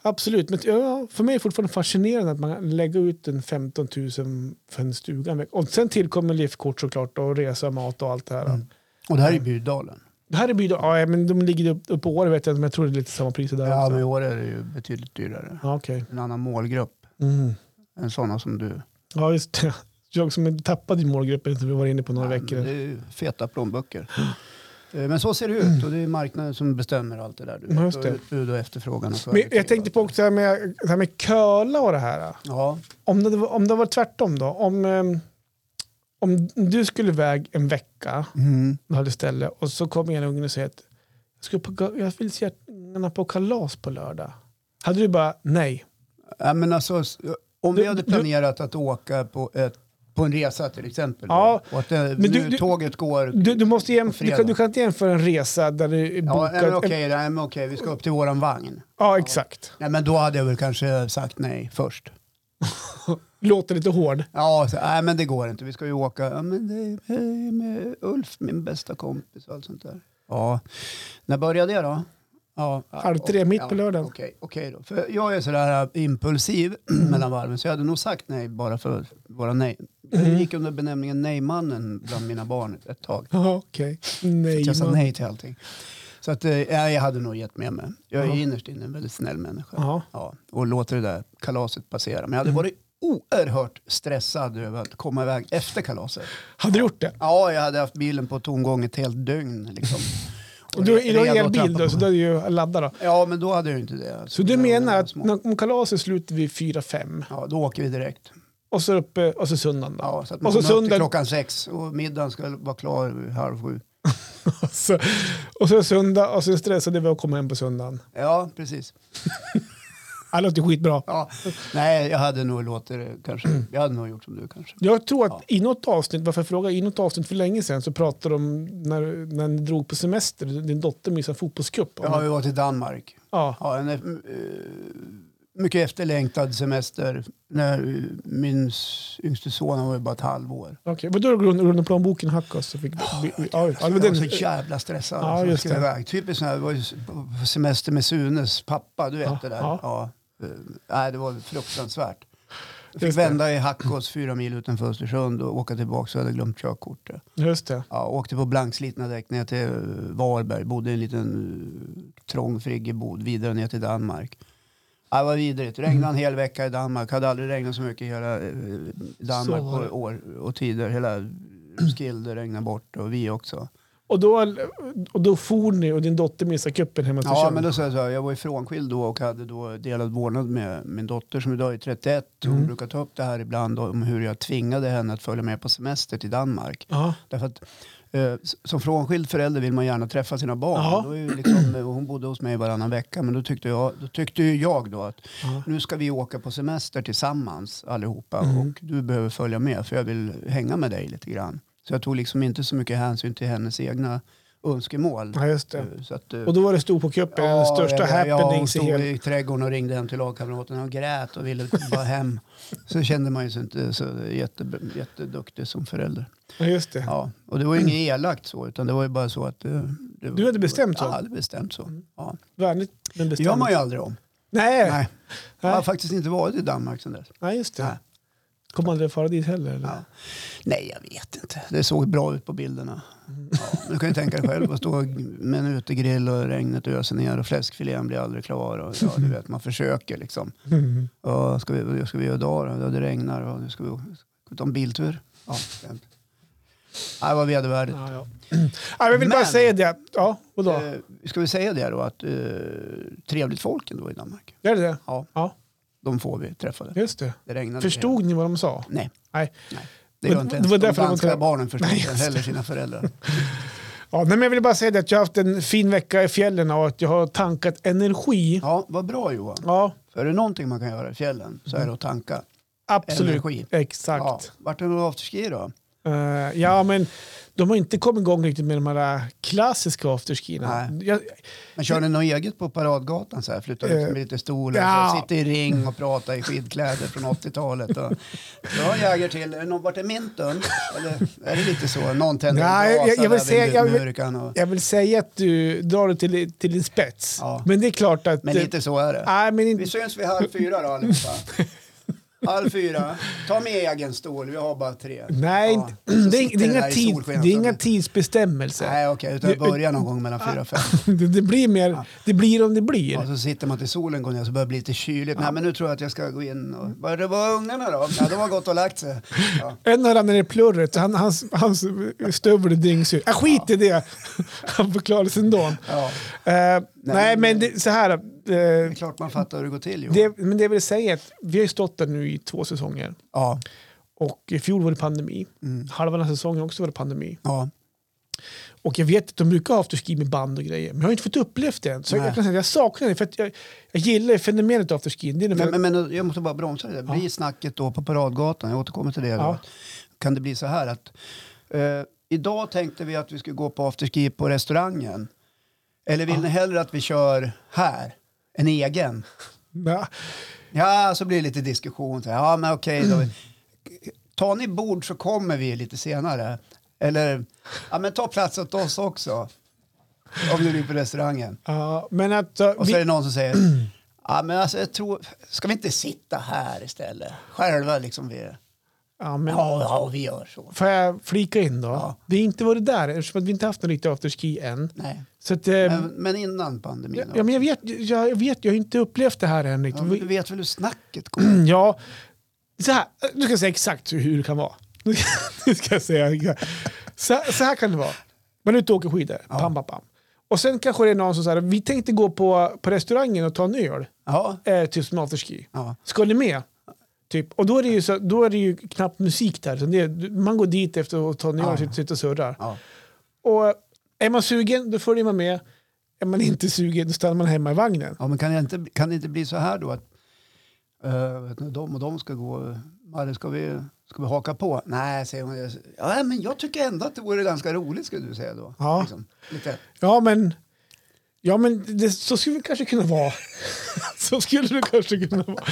S2: absolut, men ja, för mig är det fortfarande fascinerande att man kan lägga ut en 15 000 för en stuga. en vecka. Och sen tillkommer liftkort såklart och resa, mat och allt det här.
S1: Mm. Och det här är ju Bydalen.
S2: Det här är by- ja, men de ligger upp, upp på år vet jag inte, men jag tror det är lite samma priser där
S1: Ja,
S2: också.
S1: men i år är det ju betydligt dyrare.
S2: Ja, okej.
S1: En annan målgrupp
S2: Mm.
S1: än sådana som du.
S2: Ja, just det. Jag som tappade i målgruppen som vi var inne på några
S1: Ja, men
S2: veckor.
S1: Det är ju feta plånböcker. Eh, Men så ser det ut och det är marknaden som bestämmer allt det där. Du
S2: Ja,
S1: vet.
S2: just
S1: Och
S2: det.
S1: utbud och efterfrågan. Och
S2: Men jag
S1: kvalitet
S2: tänkte
S1: och
S2: på
S1: allt.
S2: också det här med, det här med köla och det här.
S1: Ja,
S2: Om det, var- om det var tvärtom då? Om, ehm, om du skulle iväg en vecka
S1: mm.
S2: du hade ställe och så kom en unge och säger att jag, skulle på, ga- jag vill så gärna på kalas på lördag. Hade du bara nej?
S1: ja men alltså, s- om
S2: Du-
S1: vi hade
S2: du-
S1: planerat att åka på, ett, på en resa till exempel. då,
S2: Ja,
S1: och att det,
S2: men
S1: nu,
S2: du- du-
S1: tåget går.
S2: Du, du, måste jämf- du,
S1: fredag.
S2: kan, du kan inte jämföra en resa där du
S1: ja,
S2: är bokad.
S1: nej, men okej, nej, men okej, vi ska upp till våran vagn.
S2: ja exakt.
S1: Nej, men då hade jag väl kanske sagt nej först.
S2: Låter lite hård.
S1: Ja, så, nej men det går inte. Vi ska ju åka. Ja, men det är med Ulf, min bästa kompis och allt sånt där. Ja, när började det då? Ja,
S2: Halv tre,
S1: och-
S2: mitt på lördagen.
S1: Okej, okej då. För jag är sådär äh, impulsiv [clears throat] mellan varven så jag hade nog sagt nej bara för att vara nej.
S2: Mm.
S1: Jag gick under benämningen nej-mannen bland mina barn ett- ett tag.
S2: Ja, okej.
S1: För
S2: Nej.
S1: att jag sa
S2: man-
S1: nej till allting. Så att, eh, nej, jag hade nog gett med mig. Jag är
S2: Ja.
S1: innerst inne en väldigt snäll människa.
S2: Ja.
S1: Ja, och låter det där kalaset passera. Men jag hade varit oerhört stressad över att komma iväg efter kalaset.
S2: Hade du gjort det?
S1: Ja, jag hade haft bilen på tomgång ett helt dygn. Liksom.
S2: Och [laughs] du, du har
S1: redo att
S2: elbil
S1: trampa
S2: då,
S1: på.
S2: så du är ju laddad då.
S1: Ja, men då hade jag ju inte det.
S2: Så du
S1: När ungarna
S2: menar
S1: var
S2: att
S1: små.
S2: när- om kalaset är slut vid 4-5
S1: Ja, då åker vi direkt.
S2: och så uppe och så söndagen då?
S1: Ja, så att
S2: Och
S1: man kommer
S2: så
S1: upp till
S2: söndag-
S1: klockan sex och middagen ska vara klar vid halv sju.
S2: [laughs] Och så, och så söndag och så stressade vi att komma hem på söndagen.
S1: Ja, precis.
S2: Ja, Det låter skitbra.
S1: Ja. Nej, jag hade nog låtit det kanske. Jag hade nog gjort som du kanske.
S2: Jag tror att
S1: Ja.
S2: i något avsnitt, varför jag frågar, i något avsnitt för länge sedan så pratade de om när, när ni drog på semester, din dotter missade en fotbollscup.
S1: Ja, vi var till Danmark.
S2: ja.
S1: Ja, en eh, mycket efterlängtad semester. När eh, min s- yngste son han var ju bara ett halvår.
S2: Okej, vadå då grund, grund och planboken hackade så fick... Ja, ja, ja, det var
S1: Jag var så
S2: den,
S1: jävla stressad.
S2: Ja,
S1: alltså, jag
S2: just
S1: skulle
S2: det.
S1: iväg. Typiskt sån här, det var ju på på semester med Sunes pappa, du vet
S2: Ja,
S1: det där.
S2: ja.
S1: Ja. Eh, nej, det var fruktansvärt. Jag fick
S2: Just det.
S1: vända i Hackås fyra mil utanför Östersund och åka tillbaka så jag hade glömt körkortet.
S2: just det.
S1: Ja, åkte på blankslitna däck ner till eh, Varberg, bodde i en liten eh, trång friggebod, vidare ner till Danmark. Ja, det var vidrigt. Regnade en hel vecka i Danmark. Hade aldrig regnat så mycket i hela eh, Danmark
S2: Så var det.
S1: på år och tider. Hela Roskilde regnade bort och vi också.
S2: Och då, och då for ni och din dotter missade cupen hemma i
S1: Ja,
S2: Östersund.
S1: men då sa jag så här, jag var ifrånskild då och hade då delad vårdnad med min dotter som idag är 31. Hon
S2: Mm.
S1: brukar ta upp det här ibland om hur jag tvingade henne att följa med på semester till Danmark.
S2: Ja.
S1: Därför att eh, s- som frånskild förälder vill man gärna träffa sina barn.
S2: Ja.
S1: Då är ju liksom, eh, hon bodde hos mig varannan vecka men då tyckte, jag, då tyckte ju jag då att
S2: Ja.
S1: nu ska vi åka på semester tillsammans allihopa
S2: Mm.
S1: och du behöver följa med för jag vill hänga med dig lite grann. Så jag tog liksom inte så mycket hänsyn till hennes egna önskemål.
S2: ja, just det.
S1: Eh, Så att, eh,
S2: Och då var det stor på cupen, den största
S1: jag- jag- Hon
S2: happenings i
S1: stod
S2: hela...
S1: i trädgården och ringde hem till lagkamraterna och grät och ville bara hem. Så kände man ju sig inte så jätte, jätteduktig som förälder.
S2: Ja, just det.
S1: Ja. Och det var ju inget elakt så, utan det var ju bara så att... eh, Det, var-
S2: Du hade bestämt så?
S1: Ja, jag hade bestämt så. Ja.
S2: Vänligt men
S1: Det
S2: bestämt.
S1: gör man ju aldrig om.
S2: Nej.
S1: Nej. Jag har
S2: Nej.
S1: faktiskt inte varit i Danmark sedan dess.
S2: Nej, just det.
S1: Nej.
S2: Kom aldrig fara dit heller? Eller?
S1: Ja. Nej, jag vet inte. Det såg bra ut på bilderna. Ja, men du kan ju tänka dig själv att stå med en utegrill och regnet öser ner och fläskfilén blir aldrig klar. Och, ja, du vet, man försöker liksom.
S2: Mm.
S1: Ja, ska vi, vad ska vi göra idag då? Ja, det regnar och nu ska vi, ska vi ta en biltur. Ja, skönt. Nej, det var vedervärdigt.
S2: Ja, ja. Ja, jag vill bara
S1: Men-
S2: säga det. Ja, och då?
S1: Eh, ska vi säga det då att eh, trevligt folk ändå i Danmark.
S2: Gör det det?
S1: Ja,
S2: Ja,
S1: de får vi träffade.
S2: just det.
S1: Det regnade.
S2: Förstod ni vad de sa?
S1: Nej.
S2: Nej.
S1: Det gör
S2: Men
S1: inte
S2: det
S1: ens
S2: var
S1: de
S2: därför de
S1: danska
S2: inte-
S1: barnen förstår
S2: Nej,
S1: inte
S2: just det.
S1: heller sina föräldrar.
S2: [laughs] Ja, nej, men jag vill bara säga det att jag har haft en fin vecka i fjällen och att jag har tankat energi.
S1: Ja, vad bra Johan.
S2: Ja,
S1: För är det någonting man kan göra i fjällen så är det att tanka
S2: absolut.
S1: energi.
S2: Exakt.
S1: Ja, vart är det någon afterski då?
S2: Eh, ja, men de har inte kommit igång riktigt med de här klassiska afterskierna.
S1: Nej.
S2: Jag,
S1: Men kör ni något eget på Paradgatan? Så här? Flyttar ut med lite stolar,
S2: Eh, ja.
S1: så sitter i ring och pratar i skidkläder från 80-talet. Och, ja, jäger till, är det någon, vart är minten? Eller är det lite så? Någon tänder
S2: Nej,
S1: en brasa
S2: jag- jag vill
S1: där
S2: säga-
S1: vid
S2: jag vill-
S1: murkan och,
S2: jag vill säga att du drar det till, till din spets.
S1: Ja.
S2: Men det är klart att...
S1: Men lite så är det.
S2: Nej, men
S1: Vi
S2: inte,
S1: syns vid halv fyra då allihopa. halv fyra. Ta med egen stol, vi har bara tre.
S2: nej
S1: Ja,
S2: [clears throat] det,
S1: så
S2: är- det,
S1: sitter
S2: är
S1: ni
S2: inga
S1: där i
S2: tid, det
S1: solskenet
S2: är inga
S1: och-
S2: tidsbestämmelser.
S1: Nej okej, utan
S2: Det-
S1: börja någon gång mellan fyra och fem.
S2: [laughs] Det, det blir mer, det blir om det blir.
S1: Och så sitter man till solen går ner så börjar det bli lite kyligt. Nej men nu tror jag att jag ska gå in och... Var det var ungarna då? Ja de har gått och lagt sig. Ja.
S2: En har ramlat ner i plurret, så han, hans, hans stövel dränks ut. Ah, skit i det! [laughs] Han förklarade sig ändå.
S1: ja.
S2: Eh, nej, men det, så här. eh,
S1: Det är klart man fattar hur det går till Johan.
S2: det, men det jag vill säga är att vi har ju stått där nu i två säsonger.
S1: Ja.
S2: Och i fjol var det pandemi.
S1: Mm.
S2: Halva den här säsongen också var det pandemi.
S1: ja.
S2: Och jag vet att de brukar ha afterski med band och grejer. Men jag har inte fått uppleva det än. Så
S1: Nej.
S2: jag, kan säga, att jag saknar det. För att jag, jag gillar fenomenet afterski. Det är
S1: Men,
S2: ungefär-
S1: men, men jag måste bara bromsa det där. Blir
S2: Ja.
S1: snacket då på Paradgatan, jag återkommer till det. Då.
S2: Ja.
S1: Kan det bli så här att eh, idag tänkte vi att vi skulle gå på afterski på restaurangen. Eller vill ni hellre att vi kör här? En egen?
S2: Ja.
S1: Ja, så blir det lite diskussion. Så här, Ja, men okej då. Tar ni bord så kommer vi lite senare. Eller, ja men ta plats åt oss också. Om du blir på restaurangen.
S2: Ja, men att... eh,
S1: Och så
S2: vi-
S1: är det någon som säger, ja men alltså jag tror, ska vi inte sitta här istället? Själva liksom vi,
S2: ja, men,
S1: ja, ja vi gör så.
S2: Får jag flika in då?
S1: Ja.
S2: Det är inte vad det där eftersom att vi inte haft någon riktig afterski än.
S1: Nej.
S2: Så att, eh,
S1: Men, men innan pandemin?
S2: ja, men jag, vet, jag, jag vet, jag har inte upplevt det här än
S1: Ja,
S2: riktigt.
S1: men du
S2: Vi-
S1: vet väl hur snacket går?
S2: Ja, så här, nu ska jag säga exakt hur- hur det kan vara. [laughs] Nu ska- Nu ska jag säga. Så, så här kan det vara. Man är ute och åker skidor, pam, pam, pam. Och sen kanske det är någon som säger, vi tänkte gå på, på restaurangen och ta en öl,
S1: Ja,
S2: eh, typ som afterski.
S1: ja.
S2: Ska ni med? Typ. Och då är, det ju så, då är det ju knappt musik där. utan Det, är- man går dit efter att ta en öl
S1: Ja.
S2: och sitter- sitter och surrar.
S1: ja.
S2: Och är man sugen då följer man med. Är man inte sugen då stannar man hemma i vagnen.
S1: ja men kan det, inte, kan det inte bli så här då att eh, vet ni, de och de ska gå, Marre ska vi, ska vi haka på? Nej, säger hon. Ja, men jag tycker ändå att det vore ganska roligt skulle du säga då.
S2: Ja.
S1: Liksom, lite.
S2: Ja men, ja, men det, så skulle det kanske kunna vara. [laughs] så skulle det kanske kunna vara.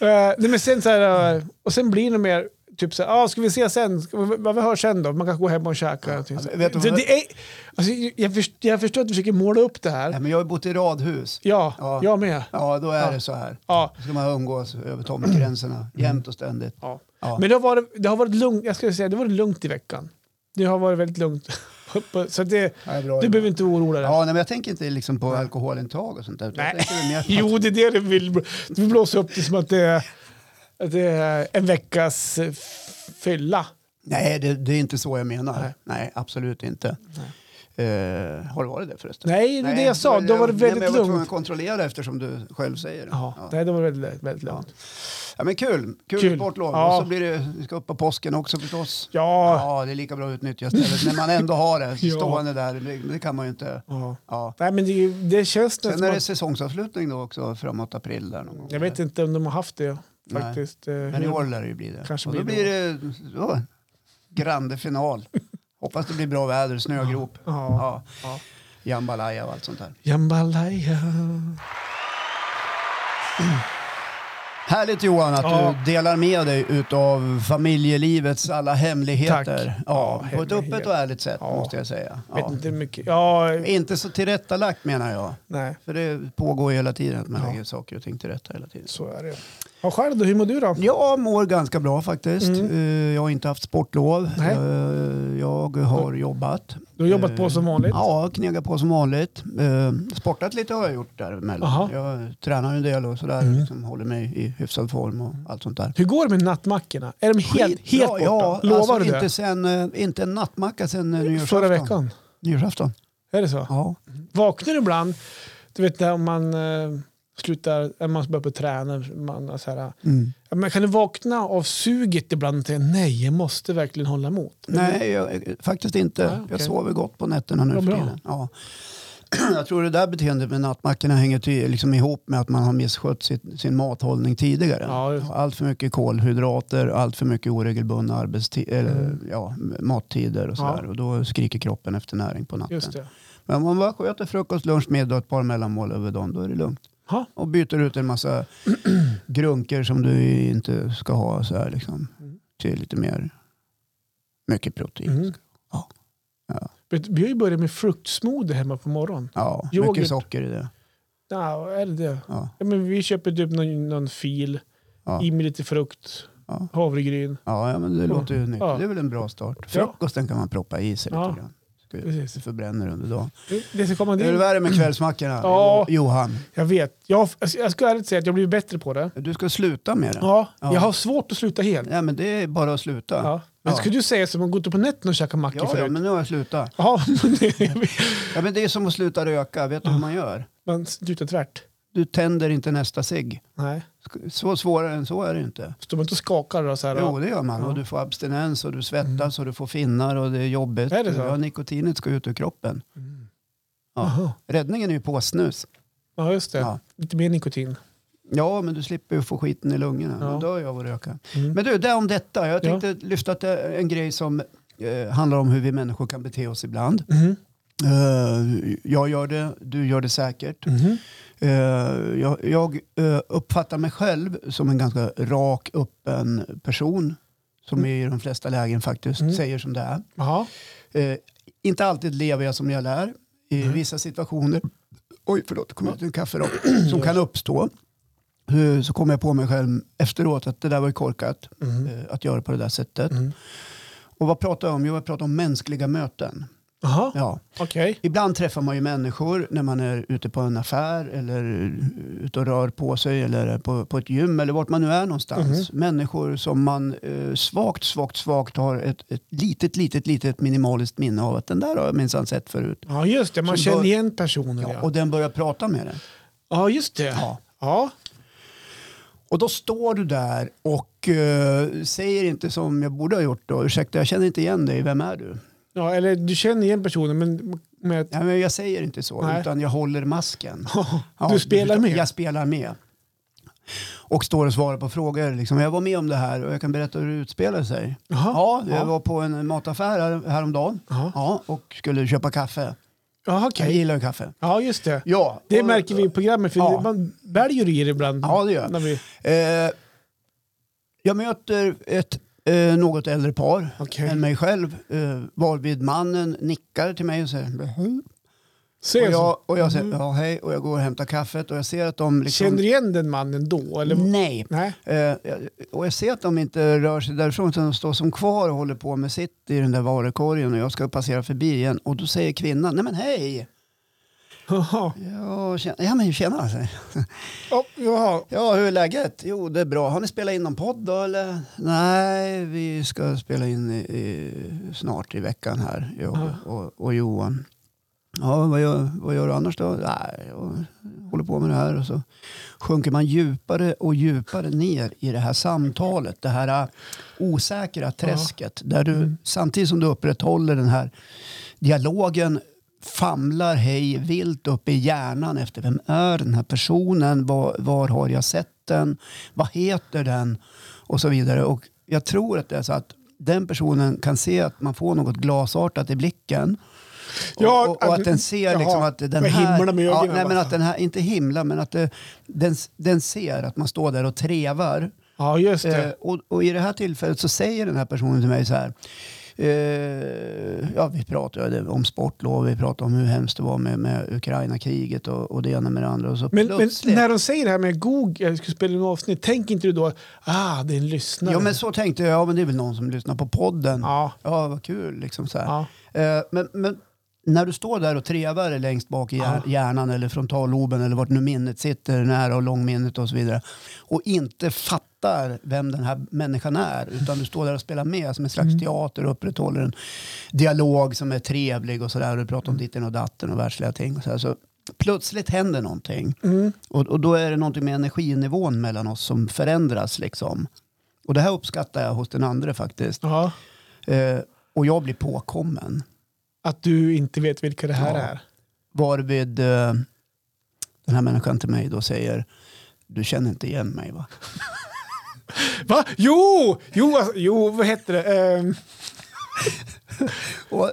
S2: Eh, nej, men sen så här, eh, och sen blir det mer typ så här, ah, ska vi ses sen? Ska vi, vad vi hörs sen då? Man kan gå hem och käka. typ så här.
S1: vet du
S2: Så
S1: vad-
S2: det är, alltså, jag, först, jag förstår att du försöker måla upp det här.
S1: Nej, men jag har ju bott i radhus.
S2: Ja,
S1: Ja.
S2: jag med.
S1: Ja, då är
S2: Ja. Mm.
S1: det så här.
S2: Ja.
S1: Då ska man umgås över tomtgränserna jämt och ständigt.
S2: Ja.
S1: Ja.
S2: Men det har, varit, det har varit lugnt, jag skulle säga, det har varit lugnt i veckan. Det har varit väldigt lugnt. [laughs] så att det,
S1: Ja, det är bra
S2: du
S1: det.
S2: behöver inte oroa dig.
S1: Ja, nej, men jag tänker inte liksom på alkoholintag och sånt där. utan Jag
S2: Nej.
S1: tänker väl mer på-
S2: Jo, det är det du vill. Du vill blåsa upp det som att det är, att det är en veckas eh, fylla.
S1: Nej, det, det är inte så jag menar. Nej,
S2: Nej.
S1: absolut inte. Eh, har det varit det förresten?
S2: Nej, det är det jag sa. Då var det
S1: nej, men
S2: väldigt
S1: Jag var tvungen
S2: lugnt.
S1: att kontrollera eftersom du själv säger det.
S2: Ja,
S1: Ja.
S2: Nej, det var väldigt, väldigt lugnt.
S1: Ja, men kul, kul,
S2: Kul.
S1: sportlov.
S2: Ja.
S1: Och så blir det, vi ska upp på påsken också förstås.
S2: Ja.
S1: Ja, det är lika bra att utnyttja stället. När man ändå har det
S2: [laughs] Ja.
S1: stående där, det- det kan man ju inte.
S2: ja.
S1: Ja.
S2: Nej, men det, är ju- det känns nästan
S1: Sen
S2: som
S1: är
S2: att,
S1: det säsongsavslutning då också framåt april där någon gång.
S2: Jag vet inte om de har haft det
S1: Nej.
S2: faktiskt. eh,
S1: Men i
S2: hur-
S1: år lär det ju bli det.
S2: Kanske
S1: och då blir
S2: blir
S1: det, då, grande
S2: [laughs]
S1: final. Hoppas det blir bra väder, snögrop.
S2: Ja.
S1: Ja.
S2: Ja.
S1: Jambalaya och allt sånt där.
S2: Jambalaya.
S1: Härligt Johan att
S2: Ja.
S1: du delar med dig utav familjelivets alla hemligheter.
S2: Tack.
S1: Ja,
S2: Ja,
S1: på ett öppet
S2: hemlighet.
S1: och ärligt sätt
S2: Ja.
S1: måste jag säga.
S2: Vet
S1: Ja.
S2: inte hur mycket. Ja,
S1: Inte så tillrättalagt menar jag.
S2: nej.
S1: För det pågår ju hela tiden att man
S2: Ja.
S1: lägger saker och ting till rätta hela tiden.
S2: Så är det. Ja, själv då, hur mår du då?
S1: Jag mår ganska bra faktiskt.
S2: Mm.
S1: Eh, Jag har inte haft sportlov.
S2: Nej.
S1: Eh, Jag har jobbat.
S2: Du har jobbat på
S1: Eh,
S2: som vanligt.
S1: Ja, knegat på som vanligt. Eh, Sportat lite har jag gjort
S2: Aha. Mm.
S1: däremellan. Jag tränar en del och sådär. Liksom, håller mig i hyfsad form och allt sånt där.
S2: Hur går det med nattmackorna? Är de helt,
S1: Skitbra,
S2: helt borta?
S1: Ja,
S2: Lovar
S1: alltså,
S2: du det?
S1: inte, sen, eh, inte en nattmacka sen eh, nyårsafton.
S2: Förra veckan?
S1: Nyårsafton.
S2: Är det så?
S1: Ja.
S2: Vaknar du ibland, du vet när man eh, slutar, när man börjar på träna, man, har så här,
S1: Mm.
S2: ja, men kan du vakna av suget ibland och säga nej, jag måste verkligen hålla emot?
S1: Nej, jag, faktiskt inte.
S2: Nej, Mm. Ah, okej.
S1: Jag sover gott på nätterna nu
S2: Vad
S1: för
S2: bra.
S1: tiden. Ja. [clears throat] Jag tror det där beteendet med nattmackorna hänger till, liksom ihop med att man har misskött sitt, sin mathållning tidigare.
S2: Ja, just-
S1: Allt för mycket kolhydrater, allt för mycket oregelbundna arbetsti- eller,
S2: Mm.
S1: ja, mattider och sådär. Och då skriker kroppen efter näring på natten.
S2: Just det.
S1: Men om man bara sköter frukost, lunch, middag och ett par mellanmål över dagen, då är det lugnt.
S2: Ha?
S1: Och byter ut en massa [clears throat] grunker som du inte ska ha så här liksom. Till lite mer, mycket protein.
S2: Mm.
S1: Ja. Ja.
S2: Vet, vi har ju börjat med fruktsmoothie hemma på morgonen.
S1: Ja,
S2: Yoghurt.
S1: mycket socker i det.
S2: Ja, är det det?
S1: Ja,
S2: Ja, men vi köper typ någon, någon fil,
S1: ja,
S2: i med lite frukt,
S1: ja.
S2: havregryn.
S1: ja ja, men det låter ju nytt.
S2: Ja.
S1: Det är väl en bra start.
S2: Ja.
S1: Frukosten kan man proppa i sig
S2: Ja.
S1: lite grann. Ska ju-
S2: Precis.
S1: Det förbränner under dagen.
S2: Det- Det ska komma
S1: Det är det
S2: det.
S1: värre med kvällsmackorna,
S2: Ja.
S1: Jo- Johan.
S2: Jag vet. Jag, alltså, jag ska ärligt säga att jag blir bättre på det.
S1: Du ska sluta med det.
S2: Ja,
S1: Ja.
S2: Jag har svårt att sluta helt.
S1: Nej, men det är bara att sluta.
S2: Ja. Men
S1: Ja.
S2: skulle du säga så, man går ut på nätterna och käkar mackor
S1: Ja,
S2: förut?
S1: ja, men nu har jag slutat.
S2: Ja, [laughs] men det-
S1: Ja, men det är som att sluta röka. Vet du hur man gör?
S2: man slutar tvärt.
S1: Du tänder inte nästa cigg.
S2: Nej.
S1: Så svårare än så är det inte.
S2: Står man inte och skakar då så här?
S1: Jo, det gör man.
S2: Ja. Mm.
S1: Och du får abstinens och du svettas och du får finnar och det är jobbigt.
S2: Är det så?
S1: Ja, nikotinet ska ut ur kroppen. Ja.
S2: Aha.
S1: Räddningen är ju påsnus.
S2: Ja, just det.
S1: Ja.
S2: Lite mer nikotin.
S1: ja, men du slipper ju få skiten i lungorna.
S2: Ja.
S1: Då dör jag av att röka.
S2: Mm.
S1: Men du, det om detta. Jag
S2: Ja.
S1: tänkte lyfta till en grej som eh, handlar om hur vi människor kan bete oss ibland.
S2: Mhm.
S1: Eh, jag gör det, du gör det säkert.
S2: Mhm.
S1: Eh, jag jag eh, uppfattar mig själv som en ganska rak, öppen person. Som i de flesta lägen faktiskt
S2: Mm.
S1: säger som det är.
S2: Jaha.
S1: Eh, inte alltid lever jag som jag lär. I
S2: Mm.
S1: vissa situationer, oj förlåt, det kom ut en
S2: [clears throat]
S1: kaffe då, som kan uppstå. Eh, Så kommer jag på mig själv efteråt att det där var ju korkat
S2: Mhm.
S1: eh, att göra på det där sättet.
S2: Mm.
S1: Och vad pratar jag om? Jo, jag pratar om mänskliga möten.
S2: Jaha,
S1: Ja.
S2: okej.
S1: Ibland träffar man ju människor när man är ute på en affär eller ute och rör på sig eller är på, på ett gym eller vart man nu är någonstans.
S2: Mhm.
S1: Människor som man eh, svagt, svagt, svagt har ett, ett litet, litet, litet minimaliskt minne av att den där har jag minsann sett förut.
S2: Ja, just det. Man
S1: Som
S2: känner
S1: bör-
S2: igen personer. Ja,
S1: Ja, och den börjar prata med dig.
S2: ja just det. Ja.
S1: Ja.
S2: Ja.
S1: Och då står du där och eh, säger inte som jag borde ha gjort då. Ursäkta, jag känner inte igen dig. Vem är du?
S2: eller du känner igen personer, men
S1: [laughs]
S2: med...
S1: Nej, men jag säger inte så,
S2: Nej.
S1: utan jag håller masken.
S2: du spelar
S1: förstår.
S2: med.
S1: Jag spelar med. Och står och svarar på frågor. Liksom. Jag var med om det här och jag kan berätta hur det utspelade sig.
S2: Jaha.
S1: Ja, jag
S2: Ja.
S1: var på en mataffär här, häromdagen
S2: Jaha.
S1: ja, och skulle köpa kaffe.
S2: Ja,
S1: Jag
S2: okej.
S1: gillar ju kaffe.
S2: Ja, just det.
S1: Ja,
S2: Det
S1: och-
S2: märker vi i programmet, för
S1: Ja.
S2: man väljer i det ibland.
S1: Ja, det gör jag.
S2: När vi...
S1: Eh, jag möter ett eh, något äldre par
S2: Okej.
S1: än mig själv. Eh, varvid mannen nickar till mig och säger hej.
S2: Ser
S1: Och
S2: jag,
S1: jag, och jag säger ja, hej och jag går och hämtar kaffet och jag ser att de liksom...
S2: Mm. Känner du igen den mannen då? Eller...
S1: Nej.
S2: Nej.
S1: Eh, jag- och jag ser att de inte rör sig därifrån utan de står som kvar och håller på med sitt i den där varukorgen och jag ska passera förbi igen och då säger kvinnan, nej men hej!
S2: Jaha.
S1: [laughs] Ja, tjena, ja men tjena! säger jag.
S2: Ja, jaha.
S1: Ja, hur är läget? Jo, det är bra. Har ni spelat in någon podd då eller? Nej, vi ska spela in i, i, snart i veckan här, jag
S2: Ja.
S1: och, och, och Johan. Ja, vad gör, vad gör du annars då? Nej, jag håller på med det här och så sjunker man djupare och djupare ner i det här samtalet, det här äh, osäkra träsket. Där du, samtidigt som du upprätthåller den här dialogen famlar hej vilt upp i hjärnan efter vem är den här personen, var, var har jag sett den, vad heter den och så vidare. Och jag tror att det är så att den personen kan se att man får något glasartat i blicken. Och,
S2: Ja,
S1: och, och att den ser
S2: jaha,
S1: liksom att den
S2: med
S1: här...
S2: himlarna med
S1: ja,
S2: ögonen
S1: nej, men
S2: bara.
S1: att den här, inte himla, men att det, den, den ser att man står där och trevar.
S2: Ja, just det.
S1: Eh, och, och i det här tillfället så säger den här personen till mig så här. eh, ja, vi pratade om sportlov, vi pratade om hur hemskt det var med, med Ukraina-kriget och, och det ena med det andra. Och så
S2: Men, men
S1: plötsligt-
S2: när de säger det här med Google, jag skulle spela in avsnitt, tänker inte du då ah, det är en lyssnare?
S1: Ja men så tänkte jag, ja men det är väl någon som lyssnar på podden. Ja,
S2: ja,
S1: vad kul liksom så här.
S2: ja.
S1: Eh, men, men när du står där och trevar längst bak i hjär-
S2: Ja.
S1: hjärnan eller frontalloben eller vart nu minnet sitter, nära och långminnet och så vidare. Och inte fattar vem den här människan är utan du står där och spelar med som en
S2: Mm.
S1: slags teater och upprätthåller en dialog som är trevlig och sådär. Du pratar om
S2: Mm.
S1: ditten och datten och världsliga ting och så, här. så plötsligt händer någonting.
S2: Mm.
S1: Och, och då är det någonting med energinivån mellan oss som förändras liksom. Och det här uppskattar jag hos den andra faktiskt.
S2: ja.
S1: Eh, och jag blir påkommen.
S2: Att du inte vet vilka det här
S1: Ja.
S2: är.
S1: Varvid eh, den här människan till mig då säger du känner inte igen mig va?
S2: Va? Jo! Jo, alltså, jo vad heter det? Ehm,
S1: Och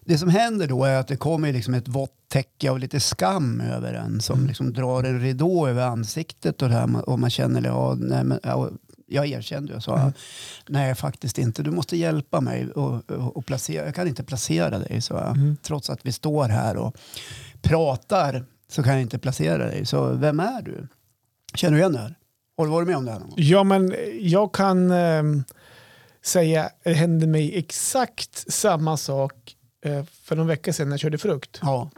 S1: det som händer då är att det kommer liksom ett vått täcke av lite skam över en som liksom drar en ridå över ansiktet och, det här, och man känner liksom, ja, nej, men, ja, jag erkände ju och sa nej faktiskt inte, du måste hjälpa mig och, och, och placera, jag kan inte placera dig så jag. Trots att vi står här och pratar så kan jag inte placera dig. Så vem är du? Känner du igen det här? Har du varit med om det här någon gång?
S2: ja, men jag kan ehm, säga, det hände mig exakt samma sak eh, för någon vecka sedan när jag körde frukt.
S1: Ja.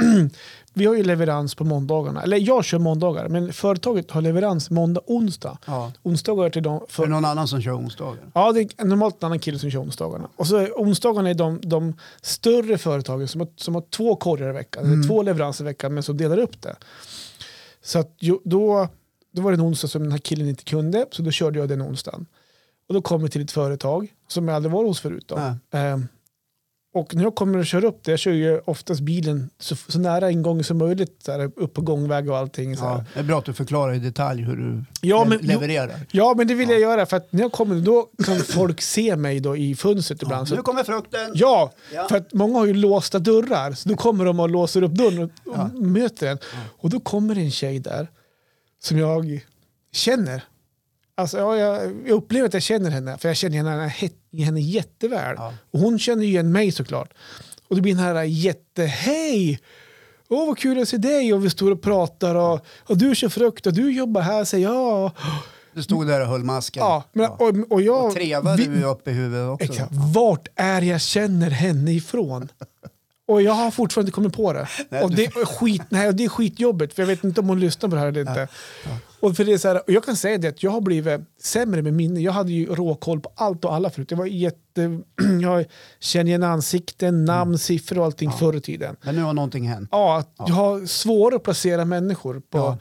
S2: Vi har ju leverans på måndagarna. Eller jag kör måndagar, men företaget har leverans måndag, onsdag.
S1: ja.
S2: Onsdagar till dem.
S1: För
S2: För,
S1: någon annan som kör onsdagar?
S2: ja, det är normalt en annan kille som kör onsdagarna. Och så är, onsdagarna är de, de större företagen som har, som har två korgar i veckan, eller två leveranser i veckan, men som delar upp det. Så att, jo, då, då var det en onsdag som den här killen inte kunde, så då körde jag den onsdagen. Och då kom vi till ett företag som jag aldrig var hos förut. Då.
S1: Nej.
S2: Ehm, och när jag kommer och kör upp det, jag kör ju oftast bilen så, så nära ingången som möjligt, så här, upp på gångväg och allting. Så här.
S1: Ja, det är bra att du förklarar i detalj hur du
S2: Ja, men-
S1: le- levererar.
S2: Ja, men det vill
S1: Ja.
S2: jag göra för att när jag kommer då kan folk se mig då i fönstret ibland.
S1: nu
S2: Så,
S1: kommer frukten.
S2: ja,
S1: Ja.
S2: för att många har ju låsta dörrar så då kommer de och låser upp dörren och, och
S1: Ja.
S2: möter en. Och då kommer en tjej där som jag känner. Alltså, ja, jag, jag upplever att jag känner henne för jag känner henne, he- henne jätteväl.
S1: Ja.
S2: Och hon känner ju igen mig såklart. Och det blir den här jättehej! Åh vad kul att se dig och vi står och pratar och, och du kör frukt och du jobbar här säger jag.
S1: Du stod där och höll masken.
S2: Ja, men,
S1: Ja.
S2: Och, och jag...
S1: och trevade
S2: vi-
S1: du upp i huvudet också.
S2: Exakt. Vart är jag känner henne ifrån? Och jag har fortfarande inte kommit på det.
S1: [laughs] Nej,
S2: och
S1: du-
S2: det, är skit, nej, och det är skitjobbigt, för jag vet inte om hon lyssnar på det här eller inte. Och för det är så här, och jag kan säga det att jag har blivit sämre med minne. Jag hade ju råkoll på allt och alla förut. Jag, var jätte, [clears throat] jag känner igen ansikten,
S1: Mm.
S2: namn, siffror och allting förr i tiden.
S1: Men nu har någonting hänt.
S2: Ja, att jag har svårare att placera människor. På,
S1: Ja.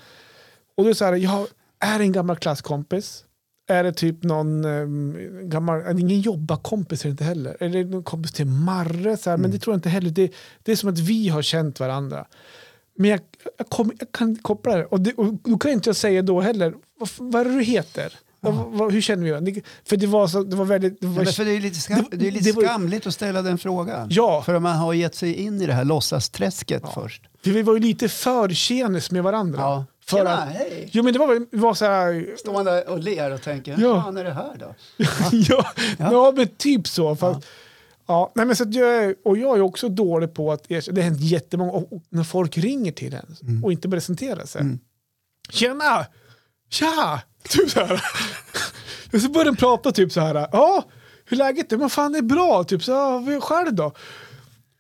S2: Och då är det så här, jag är det en gammal klasskompis. Är det typ någon um, gammal, är det ingen jobbarkompis är det inte heller. Är det någon kompis till Marre? Så här,
S1: Mm.
S2: Men det tror jag inte heller. Det, det är som att vi har känt varandra. Men jag, jag, kom, jag kan inte koppla det. Och, det, och då kan inte jag säga då heller, vad, f- vad är det du heter? Vad, vad, hur känner vi varandra? Det- För det var, så, det var väldigt... Det var,
S1: Ja, men för det är lite, skam,
S2: Det-
S1: det är lite
S2: det var ju-
S1: skamligt att ställa den frågan.
S2: Ja.
S1: För man har gett sig in i det här låtsasträsket först.
S2: vi var ju lite för tjenis med varandra.
S1: Ja.
S2: För
S1: Tjena,
S2: att,
S1: hej!
S2: jo men det var, väl- det var så här,
S1: Står man där och ler och tänker,
S2: Ja.
S1: vad fan är det här då?
S2: [laughs] ja, ja. men typ så. Fast, ja. nej, men så att jag, är- och jag är också dålig på att erkänna. Det har hänt jättemånga, och, och när folk ringer till en och inte presenterar sig. Tjena! Tja! Typ så här. och så börjar den prata typ så här. Ja, hur är läget? Men fan det är bra. Typ så här, "Ja, själv då?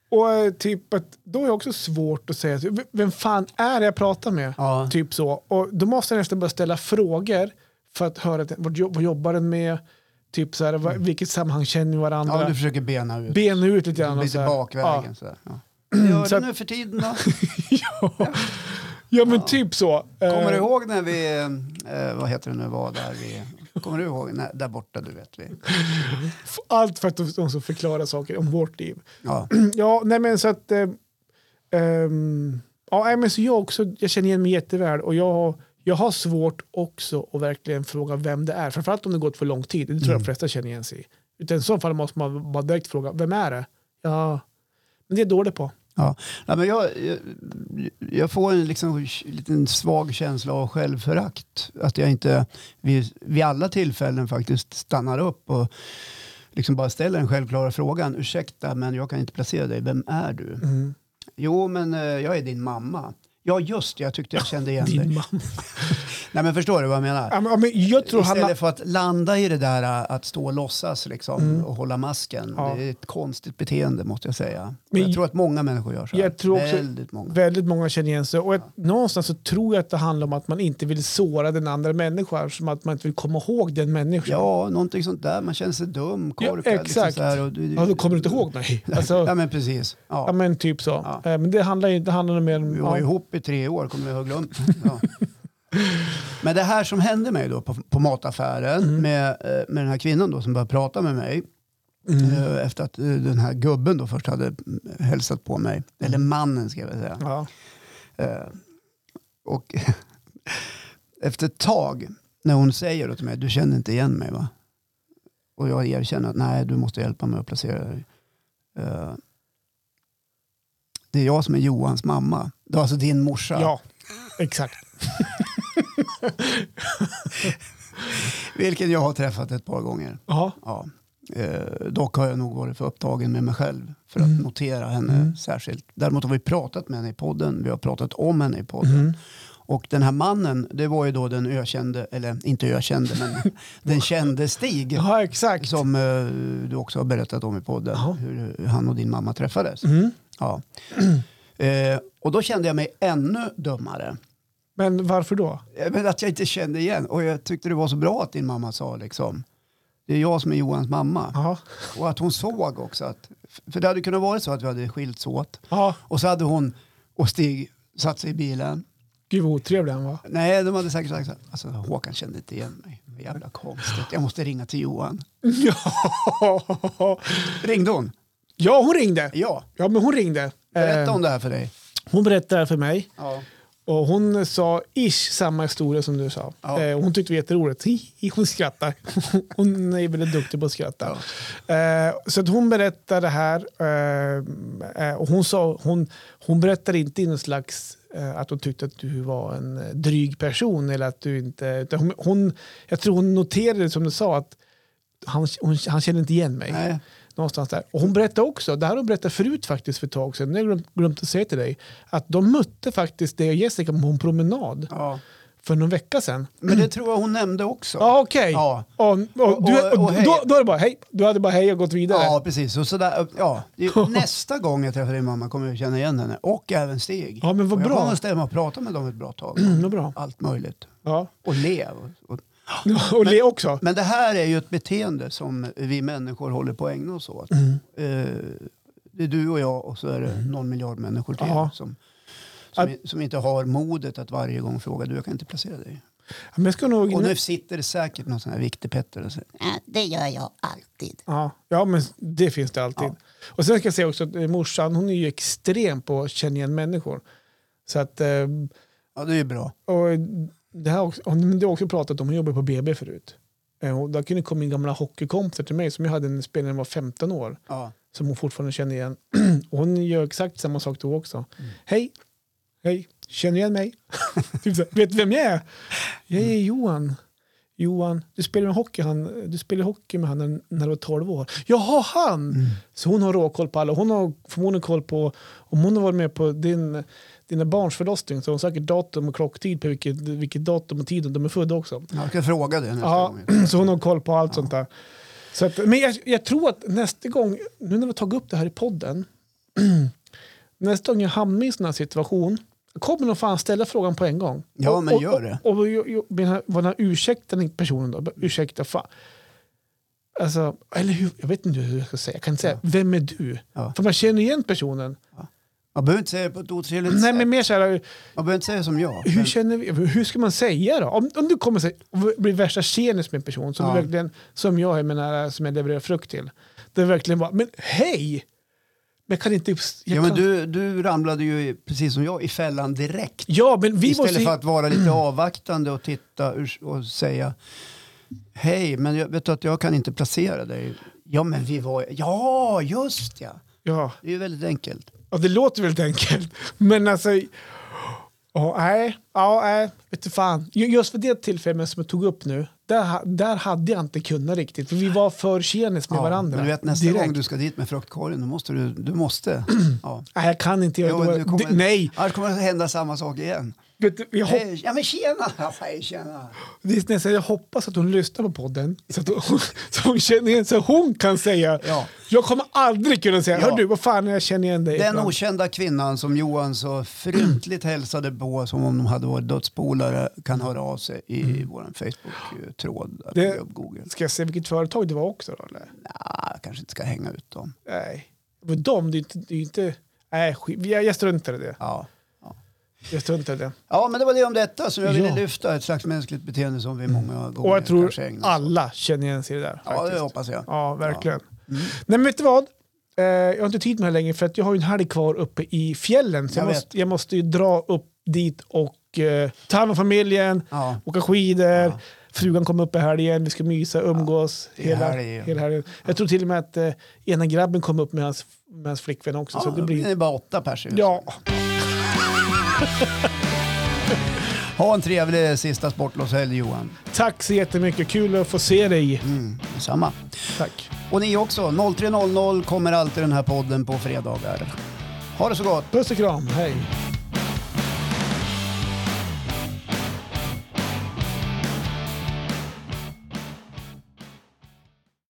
S2: Och eh, typ att då är det också svårt att säga, typ, "V- vem fan är det jag pratar med?
S1: Ja.
S2: Typ så. Och då måste jag nästan börja ställa frågor för att höra att- vad, jo- vad jobbar den med? Typ så här, vad, vilket sammanhang känner vi varandra?
S1: Mm. Ja, du försöker bena ut.
S2: Bena ut lite grann. och så
S1: lite
S2: här.
S1: bakvägen sådär.
S2: [clears throat]
S1: Ja. Vad gör
S2: Så
S1: du
S2: att-
S1: nu för tiden
S2: [laughs]
S1: då?
S2: Ja, ja. ja men typ så.
S1: Kommer
S2: Eh,
S1: du ihåg när vi, eh, vad heter det nu, var där vi, kommer du ihåg, när, där borta du vet vi.
S2: f- Allt för att de de ska förklara saker om vårt liv.
S1: Ja.
S2: Ja, nej men så att... Eh, ehm, ja, nej, men så jag också, jag känner igen mig jätteväl och jag, har- jag har svårt också att verkligen fråga vem det är. Framförallt om det gått för lång tid, det tror
S1: Mm.
S2: jag de flesta känner igen sig i. Utan i så fall måste man bara direkt fråga, vem är det? Ja, men det är jag dålig på.
S1: Ja. Nej, men jag, jag, jag får en liksom, liten svag känsla av självförakt. Att jag inte vid, vid alla tillfällen faktiskt stannar upp och liksom bara ställer den självklara frågan. Ursäkta, men jag kan inte placera dig. Vem är du?
S2: Mm.
S1: Jo, men eh, jag är din mamma. Ja, just det. Jag tyckte jag kände igen dig.
S2: Ah, Din mamma.
S1: Nej, men förstår du vad jag menar?
S2: Ja, men- ja, men jag tror han...
S1: Istället för att landa i det där eh, att stå och låtsas liksom, och hålla masken.
S2: Mm. Ja.
S1: Det är ett konstigt beteende måste jag säga.
S2: Men
S1: jag tror att många människor gör så. här.
S2: jag tror också-
S1: Väldigt många.
S2: Väldigt många känner igen sig. Och ett, någonstans så tror jag att det handlar om att man inte vill såra den andra människan. Som att man inte vill komma ihåg den människan.
S1: Ja, någonting sånt där. Man känner sig dum, korkad.
S2: exakt.
S1: Liksom så här, och du,
S2: Ja, då kommer du inte ihåg mig.
S1: [laughs] Ja,
S2: Alltså,
S1: men precis. Ja.
S2: ja, men typ så.
S1: Ja.
S2: Eh, Men det handlar ju det handlar nog mer om...
S1: Vi var
S2: Ja.
S1: ihop i tre år, kommer jag ha glömt.
S2: [laughs]
S1: Ja. Men det här som hände mig då på, på mataffären med, eh, med den här kvinnan då som började prata med mig
S2: Mm.
S1: eh, efter att eh, den här gubben då först hade mm, hälsat på mig. Eller mannen ska jag väl säga.
S2: Ja.
S1: Eh, Och [laughs] efter ett tag när hon säger då till mig, du känner inte igen mig va? Och jag erkänner att nej, du måste hjälpa mig att placera dig. Eh, Det är jag som är Johans mamma. Det var alltså din morsa.
S2: ja, exakt.
S1: Vilken jag har träffat ett par gånger.
S2: Ja.
S1: Ja. Eh, dock har jag nog varit för upptagen med mig själv för att
S2: Mm.
S1: notera henne
S2: Mm.
S1: särskilt. Däremot har vi pratat med henne i podden. Vi har pratat om henne i podden.
S2: Mm.
S1: Och den här mannen, det var ju då den ökände, eller inte ökände,
S2: [laughs]
S1: men den kände Stig.
S2: ja, exakt.
S1: [laughs] Som eh, du också har berättat om i podden.
S2: Ja.
S1: Hur han och din mamma träffades.
S2: Mm.
S1: Ja. [clears throat] Eh, och då kände jag mig ännu dummare.
S2: Men varför då?
S1: Eh, Men att jag inte kände igen. Och jag tyckte det var så bra att din mamma sa liksom. Det är jag som är Johans mamma.
S2: Ja.
S1: Och att hon såg också att. För det hade kunnat vara så att vi hade skilts åt.
S2: ja.
S1: Och så hade hon och Stig satt sig i bilen.
S2: Gud vad otrevlig
S1: [laughs]
S2: han var.
S1: Nej, de hade säkert sagt så här. Alltså Håkan kände inte igen mig. Vad Jävla konstigt. Jag måste ringa till Johan.
S2: Ja.
S1: Ringde hon?
S2: ja, hon ringde.
S1: Ja.
S2: Ja, men hon ringde.
S1: Berätta
S2: Eh,
S1: om det här för dig.
S2: Hon berättade det här för mig.
S1: Ja.
S2: Och hon sa ish samma historia som du sa.
S1: Ja.
S2: Eh, hon tyckte det var jätteroligt. [laughs] Hi, hi, Hon skrattar. [laughs] Hon är väldigt duktig på att skratta. Eh, så att hon berättade det här. eh, eh, och hon, sa, hon, hon berättade inte i någon slags eh, att hon tyckte att du var en eh, dryg person. Eller att du inte, utan hon, hon, jag tror hon noterade som du sa att han, hon, han kände inte igen mig.
S1: Nej.
S2: Någonstans där. Och hon berättade också, det här har hon berättat förut faktiskt för ett tag sedan, det har jag glömt, glömt att säga till dig, att de mötte faktiskt dig och Jessica på en promenad
S1: Ja.
S2: för någon vecka sedan.
S1: Men det tror jag hon nämnde också.
S2: Ja, okej.
S1: Ja.
S2: Och, och, du,
S1: Och- och- och hej.
S2: då, då är det bara hej, du hade bara hej och gått vidare.
S1: Ja, precis. Och sådär, ja. Det är- Nästa gång jag träffar din mamma kommer jag känna igen henne. Och även Stig.
S2: Ja, men vad
S1: Och
S2: bra.
S1: Jag kommer att stämma och prata med dem ett bra tag.
S2: Mm, vad bra.
S1: Allt möjligt.
S2: Ja. [laughs]
S1: Och le. Och- och-
S2: Och le också.
S1: Men det här är ju ett beteende som vi människor håller på att ägna oss åt.
S2: Mm.
S1: Eh, Det är du och jag och så är det någon miljard människor till
S2: Ja.
S1: som, som, i- som inte har modet att varje gång fråga du, jag kan inte placera dig.
S2: Men jag ska nog...
S1: Och nu sitter det säkert någon sån här viktig Petter och säger
S3: Ja, det gör jag alltid.
S2: Ja, ja, men det finns det alltid.
S1: Ja.
S2: Och sen ska jag säga också att eh, morsan, hon är ju extrem på att känna igen människor. Så att... Eh,
S1: ja det är ju bra.
S2: Och det här också, ja, men det har också pratat om, hon jobbade på BB förut. Eh, Och där kunde det komma in gamla hockeykompisar till mig som jag hade en spelare när jag var 15 år
S1: Ja.
S2: som hon fortfarande känner igen. [clears throat] Och hon gör exakt samma sak då också. Hej, hej, känner du igen mig? [laughs] typ så, här, vet du vem jag är? Jag är Johan. Johan, du spelar med hockey, han, du spelar hockey med han när, när du var 12 år. Jaha, han! Så hon har råkoll på alla. Hon har förmodligen koll på, om hon har varit med på din, dina barns förlossning så har hon säkert datum och klocktid på vilket, vilket datum och tid de är födda också.
S1: Jag ska fråga det nästa
S2: Ja,
S1: gång.
S2: [clears throat] så hon har koll på allt sånt där. Så att, men jag, jag tror att nästa gång, nu när vi har tagit upp det här i podden, [clears throat] nästa gång jag hamnar i en sån här situation, jag kommer nog fan ställa frågan på en gång.
S1: Ja,
S2: och,
S1: men
S2: och,
S1: gör det.
S2: Och, och, och, och, och, och, och, och ursäkta den personen då, ursäkta fan. Alltså, eller hur, jag vet inte hur jag ska säga, jag kan inte säga, vem är du?
S1: Ja.
S2: För man känner igen personen. [clears throat]
S1: Man behöver inte säga det på ett otrevligt
S2: Nej
S1: sätt.
S2: men mer så här,
S1: Man behöver inte säga som jag.
S2: hur
S1: men-
S2: känner vi, hur ska man säga då? Om, om du kommer sig, och blir värsta tjenis med en person som,
S1: Ja.
S2: verkligen, som jag är, menar, som jag levererar frukt till. Det är verkligen bara, men hej! Men jag kan inte... Jag
S1: ja, men
S2: kan,
S1: du, du ramlade ju i- precis som jag i fällan direkt.
S2: ja, men vi
S1: Istället
S2: måste...
S1: för att vara lite avvaktande och titta ur- och säga Hej, men jag vet du att jag kan inte placera dig. Ja, men vi var... Ja, just ja.
S2: ja,
S1: Det är ju väldigt enkelt.
S2: ja, det låter väldigt enkelt. Men alltså, Ja, nej, ja, nej, vet du fan. Ju- Just vid det tillfället som jag tog upp nu, där, ha- där hade jag inte kunnat riktigt, för vi var för tjenis med
S1: Ja,
S2: varandra.
S1: Men du vet nästa
S2: direkt.
S1: gång du ska dit med fruktkorgen, då måste du, du
S2: [clears throat]
S1: måste. Ja.
S2: Nej, jag kan inte göra
S1: Jo,
S2: det.
S1: du kommer-
S2: Det- Nej,
S1: Annars kommer det hända samma sak igen.
S2: vet du, jag, hopp,
S1: Hej, ja men tjena! [laughs] Jag säger tjena.
S2: det är nästan, jag hoppas att hon lyssnar på podden, så att hon, [laughs] så hon känner igen så hon kan säga.
S1: Ja.
S2: Jag kommer aldrig kunna säga,
S1: Ja.
S2: hör du, vad fan, jag känner igen dig.
S1: Den okända kvinnan som Johan så fryntligt hälsade på som om de hade varit dödspolare kan höra av sig i vår Facebook-tråd där
S2: Mm. Det-
S1: på Google.
S2: Ska jag säga vilket företag det var också då? Eller?
S1: Nja, kanske inte ska hänga ut dem.
S2: Nej. Men de, det är inte... Det är inte nej, skit. Jag, jag struntar i det.
S1: Ja.
S2: Jag struntar i det.
S1: ja, men det var det om detta som jag
S2: Ja. Mm.
S1: ville lyfta. Ett slags mänskligt beteende som vi många gånger
S2: Och jag tror
S1: kanske ägnar oss åt.
S2: alla känner igen sig i det där.
S1: Ja, det
S2: faktiskt.
S1: hoppas jag. Mm.
S2: ja verkligen. Nej, men vet du vad? Eh, jag har inte tid med det här längre för att jag har ju en helg kvar uppe i fjällen. Så jag,
S1: Jag vet.
S2: måste, jag måste ju dra upp dit och eh, ta hand om familjen,
S1: Ja.
S2: åka skidor. Frugan kom upp i helgen, vi ska mysa, umgås.
S1: det är
S2: hela,
S1: helgen.
S2: hela helgen. Jag tror till och med att eh, ena grabben kom upp med hans, med hans flickvän också.
S1: Ja,
S2: så det
S1: då blir
S2: blir...
S1: det bara åtta personer.
S2: Ja,
S1: Ha en trevlig sista sportlovshelg Johan.
S2: Tack så jättemycket. Kul att få se dig.
S1: Mm, samma.
S2: Tack.
S1: Och ni också. 03.00 kommer alltid den här podden på fredagar. Ha det så gott.
S2: Puss och kram. Hej.